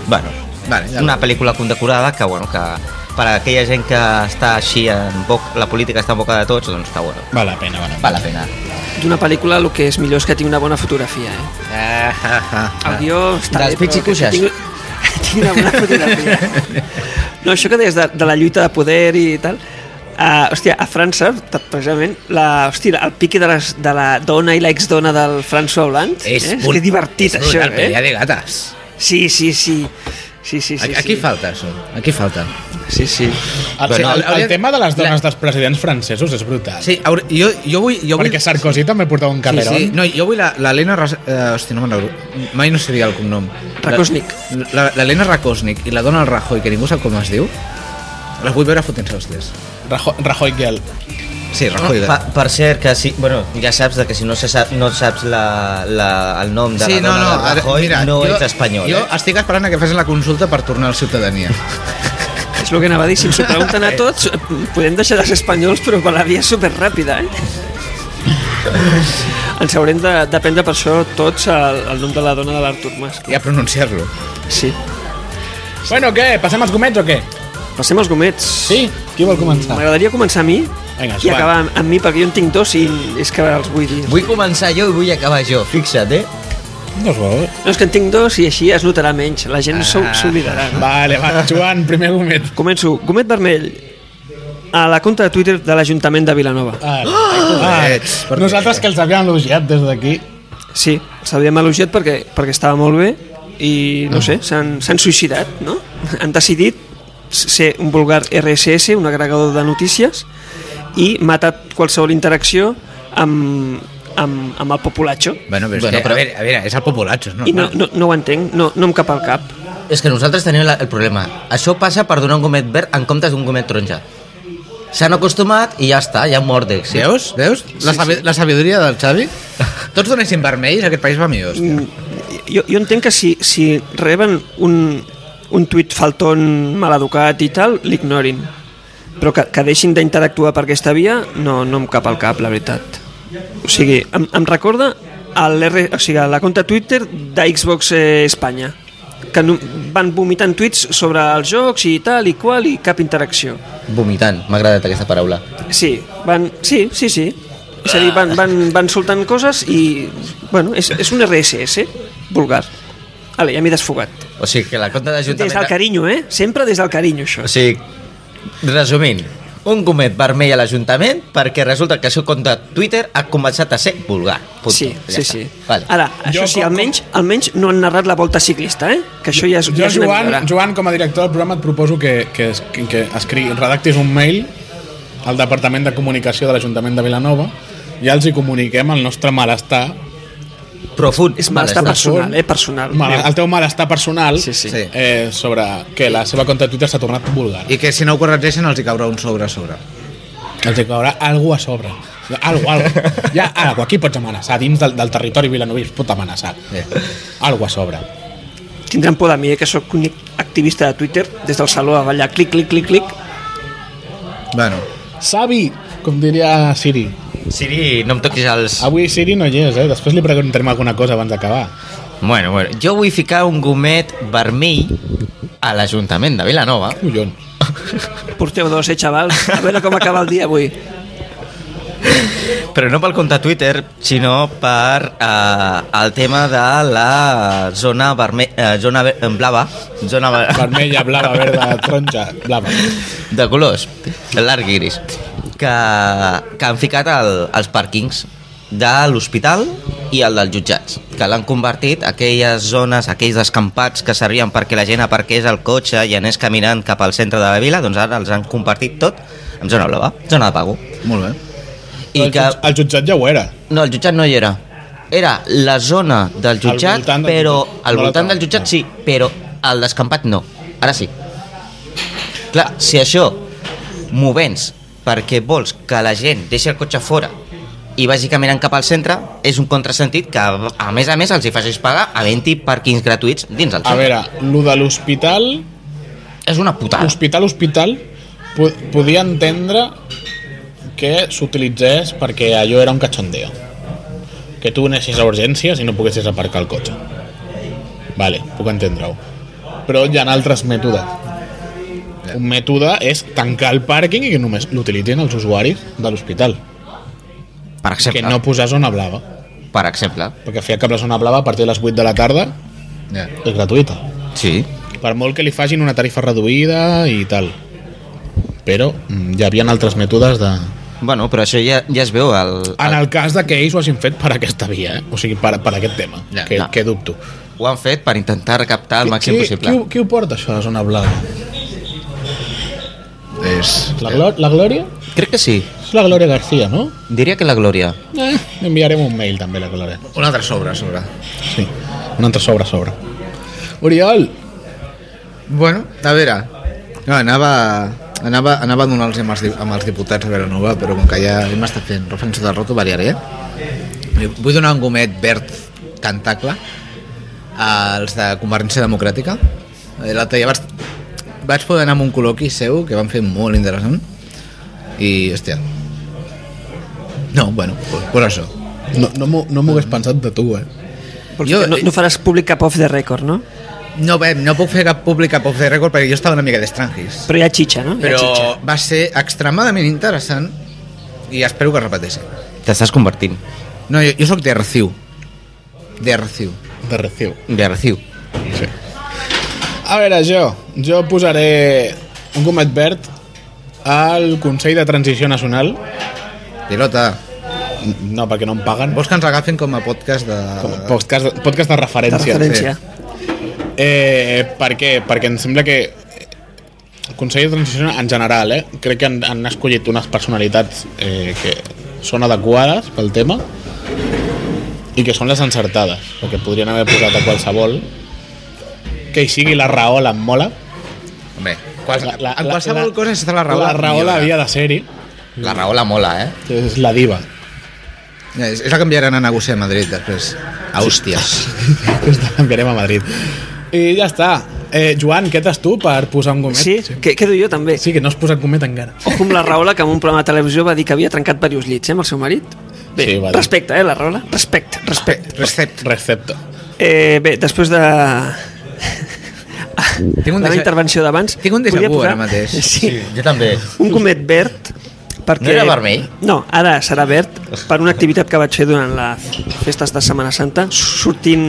Speaker 4: Bueno,
Speaker 7: Vale, ja
Speaker 4: una pel·lícula condecorada que, bueno, que per a aquella gent que està així en boc, la política està en boca de tots, doncs està bueno.
Speaker 1: Val la pena, val la pena.
Speaker 4: Val la pena.
Speaker 2: D'una pel·lícula el que és millor és que tingui una bona fotografia, eh? El guió està
Speaker 4: Dels
Speaker 2: bé,
Speaker 4: pits i
Speaker 2: però Ah. que
Speaker 4: cuixes.
Speaker 2: Tingui, tingui una bona fotografia. No, això que deies de, de la lluita de poder i tal... Uh, hòstia, a França, t- precisament, la, hòstia, el piqui de, les, de la dona i l'exdona del François Hollande... eh? és que
Speaker 7: brut-
Speaker 2: divertit,
Speaker 7: és
Speaker 2: això,
Speaker 7: brutal, Pelea
Speaker 2: eh?
Speaker 7: de gates.
Speaker 2: Sí, sí, sí. Sí, sí, sí.
Speaker 7: Sí, aquí
Speaker 2: sí.
Speaker 7: falta, això. Aquí falta.
Speaker 2: Sí, sí.
Speaker 1: El,
Speaker 4: Bueno,
Speaker 1: el, el,
Speaker 7: hauria-
Speaker 1: tema de les dones
Speaker 7: la-
Speaker 1: dels presidents francesos és brutal.
Speaker 7: Sí, haur- jo, jo vull... Jo vull...
Speaker 1: Perquè Sarkozy també portava un
Speaker 7: Sí,
Speaker 1: carreró.
Speaker 7: sí. No, jo vull la- l'Helena... Ras- Eh, hòstia, no me'n recordo. Mai no seria el cognom. La-
Speaker 2: Rakosnik.
Speaker 7: la- L'Helena Rakosnik i la Donald Rajoy, que ningú sap com es diu, les vull veure fotent-se hòsties.
Speaker 1: Rajoy, Rajoy Gel.
Speaker 7: Sí, Rajoy.
Speaker 4: Pa, per cert, que si, bueno, ja saps de que si no, se sap, no saps la, la, el nom de
Speaker 7: sí,
Speaker 4: la
Speaker 7: no,
Speaker 4: dona
Speaker 7: no,
Speaker 4: de
Speaker 7: ara-
Speaker 4: Rajoy,
Speaker 7: mira,
Speaker 4: no
Speaker 7: jo,
Speaker 4: ets espanyol.
Speaker 7: Jo
Speaker 4: eh?
Speaker 7: estic esperant a que facin la consulta per tornar a la ciutadania.
Speaker 2: És el que anava a dir, si ens ho pregunten a tots, podem deixar de ser espanyols, però per la via superràpida, eh? Ens haurem de, de prendre per això tots el, el nom de la dona de l'Artur Mas.
Speaker 7: I a pronunciar-lo.
Speaker 2: Sí.
Speaker 1: Bueno, què? Passem als gomets o què?
Speaker 2: Passem als gomets.
Speaker 1: Sí? Qui vol començar?
Speaker 2: M'agradaria començar a mi
Speaker 1: Vinga,
Speaker 2: i
Speaker 1: Joan.
Speaker 2: acabar amb, amb mi, perquè jo en tinc dos i és que els vull dir.
Speaker 4: Vull començar jo i vull acabar jo, fixa't, eh?
Speaker 1: Dos gols.
Speaker 2: No, és que en tinc dos i així es notarà menys. La gent s'ho s'ho oblidarà. No?
Speaker 1: Vale, Ah, va, Joan, primer gomet.
Speaker 2: Començo. Gomet vermell a la compte de Twitter de l'Ajuntament de Vilanova.
Speaker 1: Ah, ah, nosaltres que els havíem elogiat des d'aquí.
Speaker 2: Sí, els havíem elogiat perquè, perquè estava molt bé i, no sé, s'han s'han suïcidat, no? Han decidit ser un vulgar RSS, un agregador de notícies, i matat qualsevol interacció amb, amb, amb el populatxo.
Speaker 3: Bueno, però,
Speaker 4: Bueno,
Speaker 3: bueno,
Speaker 4: però-
Speaker 3: però... A, veure, a veure, és el populacho, no?
Speaker 2: I no, no, no ho entenc, no, no em cap al cap.
Speaker 4: És que nosaltres tenim la, el problema. Això passa per donar un gomet verd en comptes d'un gomet taronja. S'han acostumat i ja està, ja mòrdex. Sí.
Speaker 3: Veus? Veus? La, sabi la sabidoria del Xavi? Tots donéssim vermells, aquest país va millor. Hòstia.
Speaker 2: Jo, jo entenc que si, si reben un, un tuit falton, maleducat i tal, l'ignorin. Però que, que deixin d'interactuar per aquesta via no, no em cap al cap, la veritat. O sigui, em, em recorda el R, o sigui, a la compte Twitter d'Xbox eh, Espanya que no, van vomitant tuits sobre els jocs i tal i qual i cap interacció.
Speaker 4: Mm. Vomitant, m'ha agradat aquesta paraula.
Speaker 2: Sí, van, sí, sí, sí. És a dir, van, van, van soltant coses i... Bueno, és, és un RSS vulgar. Vale, ja m'he desfogat.
Speaker 4: O sigui, que la compta
Speaker 2: Des
Speaker 4: d'Ajuntament...
Speaker 2: del carinyo, eh? Sempre des del carinyo, això.
Speaker 4: O sigui, resumint, un gomet vermell a l'Ajuntament perquè resulta que el seu compte de Twitter ha començat a ser vulgar. Punto.
Speaker 2: Sí, sí, sí.
Speaker 4: Vale.
Speaker 2: Ara, això
Speaker 1: Jo
Speaker 2: sí,
Speaker 1: com-
Speaker 2: almenys, almenys no han narrat la volta ciclista, eh? Que això ja és,
Speaker 1: Jo,
Speaker 2: ja és una
Speaker 1: Joan,
Speaker 2: millora.
Speaker 1: Joan, com a director del programa, et proposo que, que, es- que escri, redactis un mail al Departament de Comunicació de l'Ajuntament de Vilanova i ja els hi comuniquem el nostre malestar
Speaker 4: Profund.
Speaker 2: És malestar
Speaker 4: Vale,
Speaker 2: personal, eh? Personal.
Speaker 1: mal, el teu malestar personal
Speaker 2: Sí, sí.
Speaker 3: Sí.
Speaker 1: Eh, sobre que la seva compte de Twitter s'ha tornat vulgar
Speaker 3: I que si no ho corregeixen els hi caurà un sobre a sobre.
Speaker 1: els hi caurà algú a sobre algo, algo. Hi ha algo, aquí pots amenaçar dins del, del territori vilanoví es pot amenaçar
Speaker 3: Sí.
Speaker 1: algo a sobre
Speaker 2: Tindran por de mi, eh? Que sóc un activista de Twitter, des del saló a ballar, clic, clic, clic, clic.
Speaker 3: Bueno,
Speaker 1: Savi, com diria Siri
Speaker 4: Siri, no em toquis els...
Speaker 1: avui Siri no hi és, eh? després li preguntarem alguna cosa abans d'acabar
Speaker 4: Bueno, bueno. Jo vull ficar un gomet vermell a l'Ajuntament de Vilanova.
Speaker 1: collons
Speaker 2: Porteu dos, eh, xavals? A veure com acaba el dia avui.
Speaker 4: Però no pel compte Twitter, sinó per eh, el tema de la zona, verme eh, zona ve- eh, blava, zona ver-
Speaker 1: vermella, blava, verda, taronja, blava.
Speaker 4: de colors, larg i gris, que, que han ficat el, els pàrquings de l'hospital i el dels jutjats, que l'han convertit aquelles zones, aquells descampats que servien perquè la gent aparqués el cotxe i anés caminant cap al centre de la vila, doncs ara els han convertit tot en zona blava, zona de pago.
Speaker 3: molt bé.
Speaker 4: I
Speaker 1: el,
Speaker 4: que,
Speaker 1: jutj- el jutjat ja ho era.
Speaker 4: No, el jutjat no hi era. Era la zona del jutjat,
Speaker 1: voltant del
Speaker 4: però
Speaker 1: jutjat.
Speaker 4: al
Speaker 1: No la
Speaker 4: voltant
Speaker 1: trobem.
Speaker 4: del jutjat sí, però al descampat no. Ara sí. Clar, si això m'ho vens perquè vols que la gent deixi el cotxe fora i vagi caminant cap al centre, és un contrasentit que, a més a més, els hi facis pagar a 20 pàrquings gratuïts dins el
Speaker 1: A
Speaker 4: centre.
Speaker 1: veure, lo de l'hospital,
Speaker 4: És una putada.
Speaker 1: hospital, hospital, po podia entendre que s'utilitzés perquè allò era un cachondeo. Que tu anessis a urgències i no poguessis aparcar el cotxe. Vale, puc entendre-ho. Però hi ha altres mètodes. Un mètode és tancar el pàrquing i que només l'utilitzin els usuaris de l'hospital.
Speaker 4: Per
Speaker 1: Que
Speaker 4: exemple,
Speaker 1: no posar zona blava.
Speaker 4: per exemple.
Speaker 1: Perquè fer cap la zona blava a partir de les 8 de la tarda
Speaker 3: Ja.
Speaker 1: és gratuïta.
Speaker 4: Sí.
Speaker 1: Per molt que li facin una tarifa reduïda i tal. Però mm, hi havia altres mètodes de...
Speaker 4: Bueno, però això ja, ja es veu al...
Speaker 1: En el cas de que ells ho hagin fet per aquesta via, eh? o sigui, per, per aquest tema,
Speaker 3: Ja,
Speaker 1: que,
Speaker 4: ja.
Speaker 1: que dubto.
Speaker 4: Ho han fet per intentar recaptar el màxim
Speaker 1: qui,
Speaker 4: possible.
Speaker 1: Qui, ho- qui ho porta, això, a la zona blava?
Speaker 3: És...
Speaker 1: La, Glo la Glòria?
Speaker 4: Crec que sí.
Speaker 1: És la Glòria García, no?
Speaker 4: Diria que la Glòria.
Speaker 1: Eh, li enviarem un mail, també, a la Glòria.
Speaker 3: Un altre sobre, a sobre.
Speaker 1: Sí, un altre sobre, sobre. Oriol!
Speaker 3: Bueno, a veure, no, anava, anava, anava a donar-los amb, els di- amb els diputats a Vilanova, però com que ja hem estat fent referència del rato, variaré. Eh, Vull donar un gomet verd tentacle als de Convergència Democràtica. Eh, L'altre dia vaig, vaig poder anar amb un col·loqui seu que van fer molt interessant i, hòstia, no, bueno, pues, pues això.
Speaker 1: No, no m'ho no m'ho hagués pensat de tu, eh?
Speaker 2: Vols
Speaker 3: Jo-
Speaker 2: dir que
Speaker 3: eh,
Speaker 4: eh,
Speaker 2: no, no faràs públic cap off the record, no?
Speaker 3: No, bé, no puc fer cap públic cap off the record perquè jo estava una mica d'estrangis.
Speaker 2: Però hi ha xitxa, no? Hi ha xitxa.
Speaker 3: però va ser extremadament interessant i espero que es repeteixi.
Speaker 4: T'estàs convertint.
Speaker 3: No, jo, jo sóc d'Erciu. D'Erciu.
Speaker 1: de reciu.
Speaker 4: De reciu.
Speaker 1: Sí. A veure, jo, jo posaré un gomet verd al Consell de Transició Nacional.
Speaker 3: Pilota,
Speaker 1: No, perquè no em paguen.
Speaker 3: vols que ens agafin com a podcast de...
Speaker 1: Podcast, podcast de
Speaker 2: De
Speaker 1: referència.
Speaker 2: referència.
Speaker 1: Eh, per què? Perquè em sembla que el Consell de Transició en general, eh, crec que han, han escollit unes personalitats eh, que són adequades pel tema i que són les encertades, perquè podrien haver posat a qualsevol que hi sigui la Rahola em mola
Speaker 4: Home,
Speaker 3: Quals- en qualsevol cosa s'està la raó.
Speaker 1: la Rahola havia de ser-hi
Speaker 4: la raola mola, eh?
Speaker 1: és la diva
Speaker 3: És, és la que enviaran a negociar a Madrid després. A hòsties.
Speaker 1: Aquesta l'enviarem a Madrid i ja està eh, Joan, què t'has tu per posar un gomet?
Speaker 2: Sí, que quedo jo també.
Speaker 1: sí que no has posat gomet encara
Speaker 2: Ojo amb la Rahola, que en un programa de televisió va dir que havia trencat diversos llits, eh, amb el seu marit. Bé,
Speaker 1: Sí, va dir.
Speaker 2: respecte, eh, la Rahola? Respecte, respecte.
Speaker 3: Recepte.
Speaker 1: recepte
Speaker 3: Ah.
Speaker 2: Eh, bé, després de...
Speaker 3: Tinc
Speaker 2: de
Speaker 3: un
Speaker 2: la
Speaker 3: déjà-
Speaker 2: intervenció d'abans...
Speaker 3: Tinc un déjà
Speaker 2: volia
Speaker 3: vu ara mateix.
Speaker 2: Sí,
Speaker 4: Jo també.
Speaker 2: un comet verd perquè...
Speaker 4: No era vermell?
Speaker 2: No, ara serà verd per una activitat que vaig fer durant les festes de Setmana Santa, sortint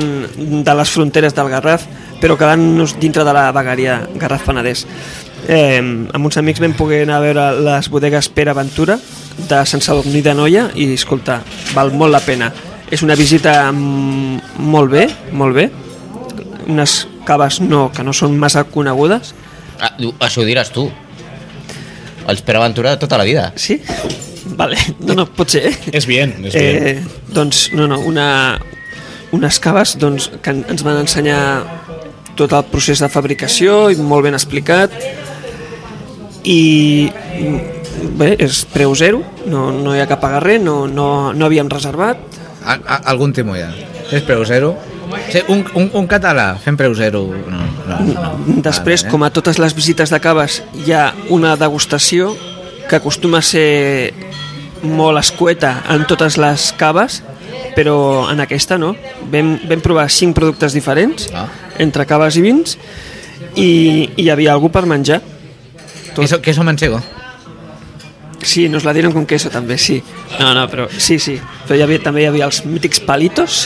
Speaker 2: de les fronteres del Garraf, però quedant-nos dintre de la vegueria Garraf-Penedès. Eh, amb uns amics vam poder anar a veure les bodegues Pere Ventura de Sant Sadurní de Noia i, escolta, val molt la pena. És una visita mm, molt bé, molt bé. Unes caves no, que no són massa conegudes.
Speaker 4: Ah, du- això ho diràs tu. Els Pere Ventura de tota la vida.
Speaker 2: Sí? Vale. No, no, pot ser. eh?
Speaker 1: és bien, és bien.
Speaker 2: Eh, doncs, no, no, una, unes caves doncs, que en- ens van ensenyar tot el procés de fabricació i molt ben explicat i mm, bé, és preu zero, no, no hi ha cap pagar res, no, no, no havíem reservat.
Speaker 3: A, a, algun timo ja. És preu zero. Sí, un, un, un català fent preu zero. No, no, no.
Speaker 2: Després,
Speaker 3: Vale, eh?
Speaker 2: com a totes les visites de caves, hi ha una degustació que acostuma a ser molt escueta en totes les caves, però en aquesta no. Vam, vam provar cinc productes diferents,
Speaker 3: Ah.
Speaker 2: entre caves i vins, i, i hi havia algú per menjar. tot.
Speaker 3: Queso, queso manchego.
Speaker 2: Sí, nos la dieron con queso també, sí. No, no, però sí, sí. Però hi havia, també hi havia els mítics palitos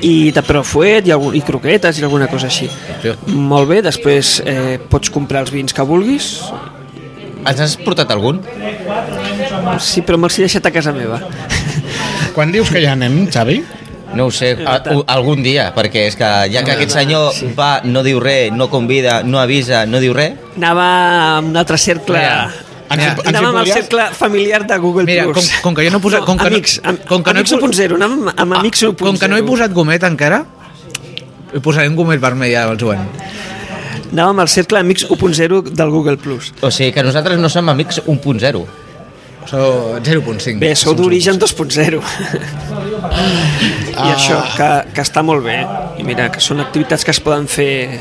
Speaker 2: i de profuet i, algun, i croquetes i alguna cosa així.
Speaker 3: Hòstia.
Speaker 2: Molt bé, després eh, pots comprar els vins que vulguis.
Speaker 4: Ens has portat algun?
Speaker 2: Sí, però me'ls he deixat a casa meva.
Speaker 1: quan dius que hi anem, Xavi?
Speaker 4: No ho sé, a, u- algun dia, perquè és que ja que aquest senyor va, no diu res, no convida, no avisa, no diu res,
Speaker 2: Anava a un altre cercle...
Speaker 1: Ens, hi-
Speaker 3: Mira,
Speaker 1: ens hi
Speaker 2: Anàvem al
Speaker 1: podries-
Speaker 2: cercle familiar de Google+.
Speaker 3: Mira, com-
Speaker 2: Plus.
Speaker 3: com que jo no he posat- com que no-
Speaker 2: amics, am-
Speaker 3: com que no he
Speaker 2: amics
Speaker 3: pos- Ah,
Speaker 2: 1.0, anàvem amb amics 1.0.
Speaker 3: com que no he posat gomet encara, hi posaré un gomet vermell al Joan.
Speaker 2: Anàvem al cercle amics 1.0 del Google+. Plus.
Speaker 4: o sigui que nosaltres no som amics 1.0.
Speaker 3: Sou 0.5.
Speaker 2: Bé, sou d'origen 2.0. I això,
Speaker 3: Ah.
Speaker 2: que, que està molt bé. I mira, que són activitats que es poden fer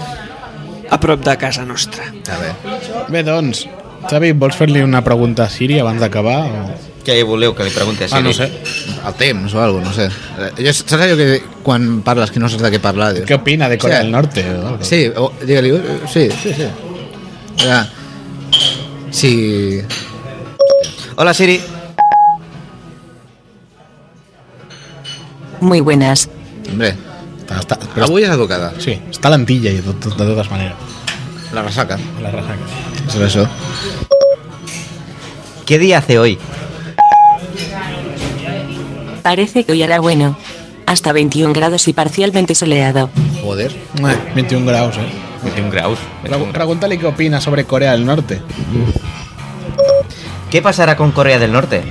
Speaker 2: a prop de casa nostra.
Speaker 3: Està Ah, bé.
Speaker 1: Bé, doncs, Xavi, vols fer-li una pregunta a Siri abans d'acabar? O...
Speaker 4: Què voleu que li pregunti a
Speaker 1: Ah,
Speaker 4: Siri?
Speaker 1: no sé.
Speaker 3: El temps o alguna cosa, no sé. Eh, Jo, saps allò que quan parles que no saps de què parlar? Dius,
Speaker 1: Què opina de Corea
Speaker 3: Sí.
Speaker 1: del Norte? o algo?
Speaker 3: Sí, o- digue-li, eh, sí, sí, sí. Ja. Sí.
Speaker 4: Hola, Siri.
Speaker 8: Muy buenas.
Speaker 3: Hombre,
Speaker 1: Està, està,
Speaker 3: però
Speaker 1: però,
Speaker 3: avui és educada,
Speaker 1: sí, està lentilla i de, tot, de totes maneres.
Speaker 3: la ressaca.
Speaker 1: La ressaca.
Speaker 3: És això.
Speaker 4: ¿Qué día hace hoy?
Speaker 9: Parece que hoy hará bueno. Hasta 21 grados y parcialmente soleado.
Speaker 3: Joder.
Speaker 1: 21 graus, eh?
Speaker 4: 21 graus.
Speaker 1: Pre- Pregunta-li què opina sobre Corea del Norte.
Speaker 4: ¿Qué pasará con Corea del Norte?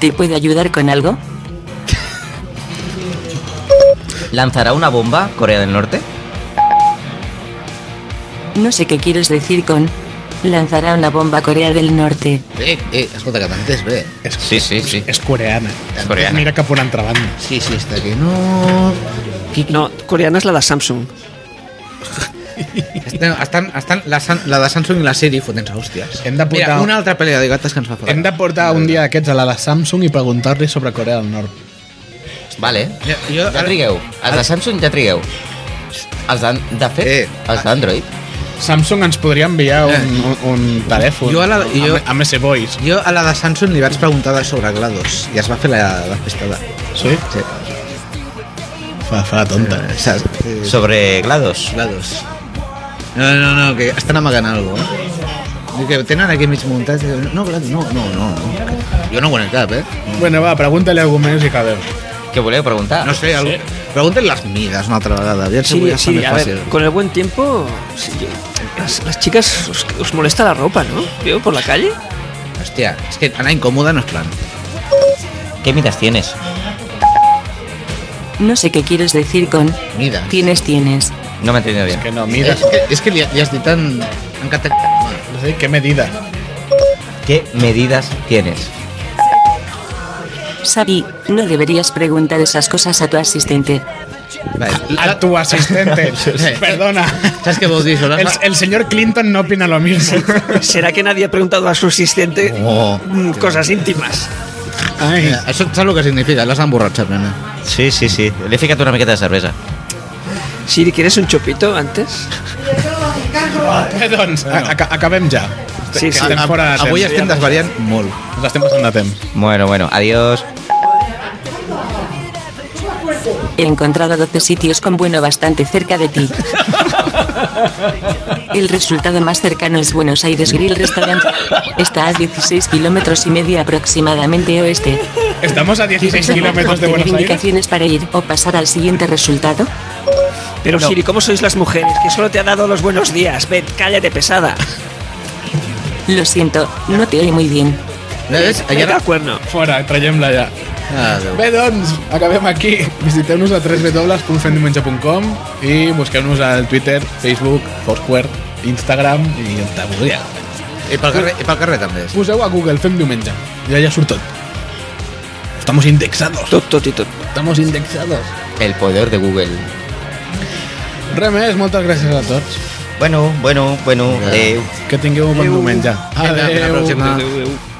Speaker 9: ¿Te puedo ayudar con algo?
Speaker 4: ¿Lanzará una bomba Corea del Norte?
Speaker 9: No sé qué quieres decir con... Lanzará una bomba a Corea del Norte.
Speaker 3: Eh, eh, escolta, que t'entens bé.
Speaker 1: És,
Speaker 4: Sí, sí, sí.
Speaker 1: és coreana.
Speaker 4: És coreana.
Speaker 1: Mira cap a una altra banda.
Speaker 3: Sí, sí, està aquí. No...
Speaker 2: No, coreana és la de Samsung.
Speaker 3: Estan, estan, estan la, San, la de Samsung i la Siri fotent-se hòsties.
Speaker 1: Hem de
Speaker 3: Mira,
Speaker 1: portar-
Speaker 3: una altra pel·li de gates que ens fa fora.
Speaker 1: Hem de portar un dia d'aquests a la de Samsung i preguntar-li sobre Corea del Nord.
Speaker 4: Vale.
Speaker 3: Jo, jo,
Speaker 4: Ja trigueu. Els de Samsung ja trigueu. Els de, de fet,
Speaker 3: Eh.
Speaker 4: els d'Android.
Speaker 1: Samsung ens podria enviar un, un, un telèfon
Speaker 3: Jo a la- jo-
Speaker 1: amb, amb ese voice.
Speaker 3: jo a la de Samsung li vaig preguntar de sobre GLaDOS i es va fer la, la festada.
Speaker 1: Sí?
Speaker 3: Sí.
Speaker 1: Fa, fa la tonta.
Speaker 3: Saps? Sí.
Speaker 4: Sobre GLaDOS.
Speaker 3: Lados. No, no, no, que estan amagant alguna cosa. eh? Que tenen aquí mig muntat. i diuen, No, Glados, no, no, no. no. Jo no ho en cap, eh?
Speaker 1: Bueno, va, pregúntale algo menos y cabe.
Speaker 4: Què voleu preguntar?
Speaker 3: No sé, algo... Pregunten les mides una altra vegada. Aviam si
Speaker 2: Sí,
Speaker 3: avui ja
Speaker 2: sí,
Speaker 3: sí,
Speaker 2: a
Speaker 3: fàcil.
Speaker 2: ver, con el buen tiempo, sí, yo- las, las chicas os, os molesta la ropa, ¿no? ¿Veo por la calle?
Speaker 3: Hòstia, és que anar incòmode no és plan.
Speaker 4: Què mides tienes?
Speaker 9: No sé qué quieres decir con
Speaker 3: Mida.
Speaker 9: tienes, tienes.
Speaker 4: No m'he entendido bien.
Speaker 1: Que no,
Speaker 3: És
Speaker 1: midas.
Speaker 3: que, és que li, li has dit tan... En català.
Speaker 1: No sé, ¿qué medida?
Speaker 4: ¿Qué medidas tienes?
Speaker 9: Sabi, no deberías preguntar esas cosas a tu asistente.
Speaker 1: A tu asistente. Perdona.
Speaker 3: Saps què vols dir, això?
Speaker 1: El, el señor Clinton no opina lo mismo.
Speaker 2: ¿Será que nadie ha preguntado a su asistente
Speaker 3: Oh.
Speaker 2: mm, cosas íntimas?
Speaker 1: Ay.
Speaker 3: Mira, Això saps el que significa? L'has emborratxat, nena.
Speaker 4: Sí, sí, sí. Li he ficat una miqueta de cervesa.
Speaker 2: Siri, ¿quieres un chopito antes?
Speaker 1: Bé, Eh, doncs, a, a, acabem ja.
Speaker 2: Sí, sí.
Speaker 1: Estem fora de temps.
Speaker 3: Avui estem desvariant molt.
Speaker 1: Ens estem passant de temps.
Speaker 4: Bueno, bueno, adiós.
Speaker 9: He encontrado 12 sitios con bueno bastante cerca de ti. El resultado más cercano es Buenos Aires Grill Restaurant. Está a 16 kilómetros y medio aproximadamente oeste.
Speaker 1: Estamos a 16 kilómetros de
Speaker 9: obtener
Speaker 1: Buenos Aires.
Speaker 9: indicaciones para ir o pasar al siguiente resultado?
Speaker 2: Pero Siri, ¿cómo sois las mujeres? Que solo te ha dado los buenos días. Ven, cállate pesada.
Speaker 9: Lo siento, no te oí muy bien.
Speaker 3: Ves? I
Speaker 2: Allá
Speaker 3: ara...
Speaker 2: de cuerno.
Speaker 1: Fora, traiem-la ja.
Speaker 3: Ah, Déu.
Speaker 1: Bé, doncs, acabem aquí. Visiteu-nos a www.fendimenja.com i busqueu-nos al Twitter, Facebook, Foursquare, Instagram i on te vulgueu.
Speaker 3: I pel carrer, i pel carrer també.
Speaker 1: Poseu a Google Fem Diumenge i allà surt tot. Estamos indexados.
Speaker 2: Tot, tot i tot.
Speaker 1: Estamos indexados.
Speaker 4: El poder de Google.
Speaker 1: Res més, moltes gràcies a tots.
Speaker 4: Bueno, eh, bueno, bueno, adeu.
Speaker 1: Que tingueu un bon diumenge.
Speaker 3: Vinga, fins la
Speaker 1: Adéu.
Speaker 3: pròxima.
Speaker 2: Adéu, adéu.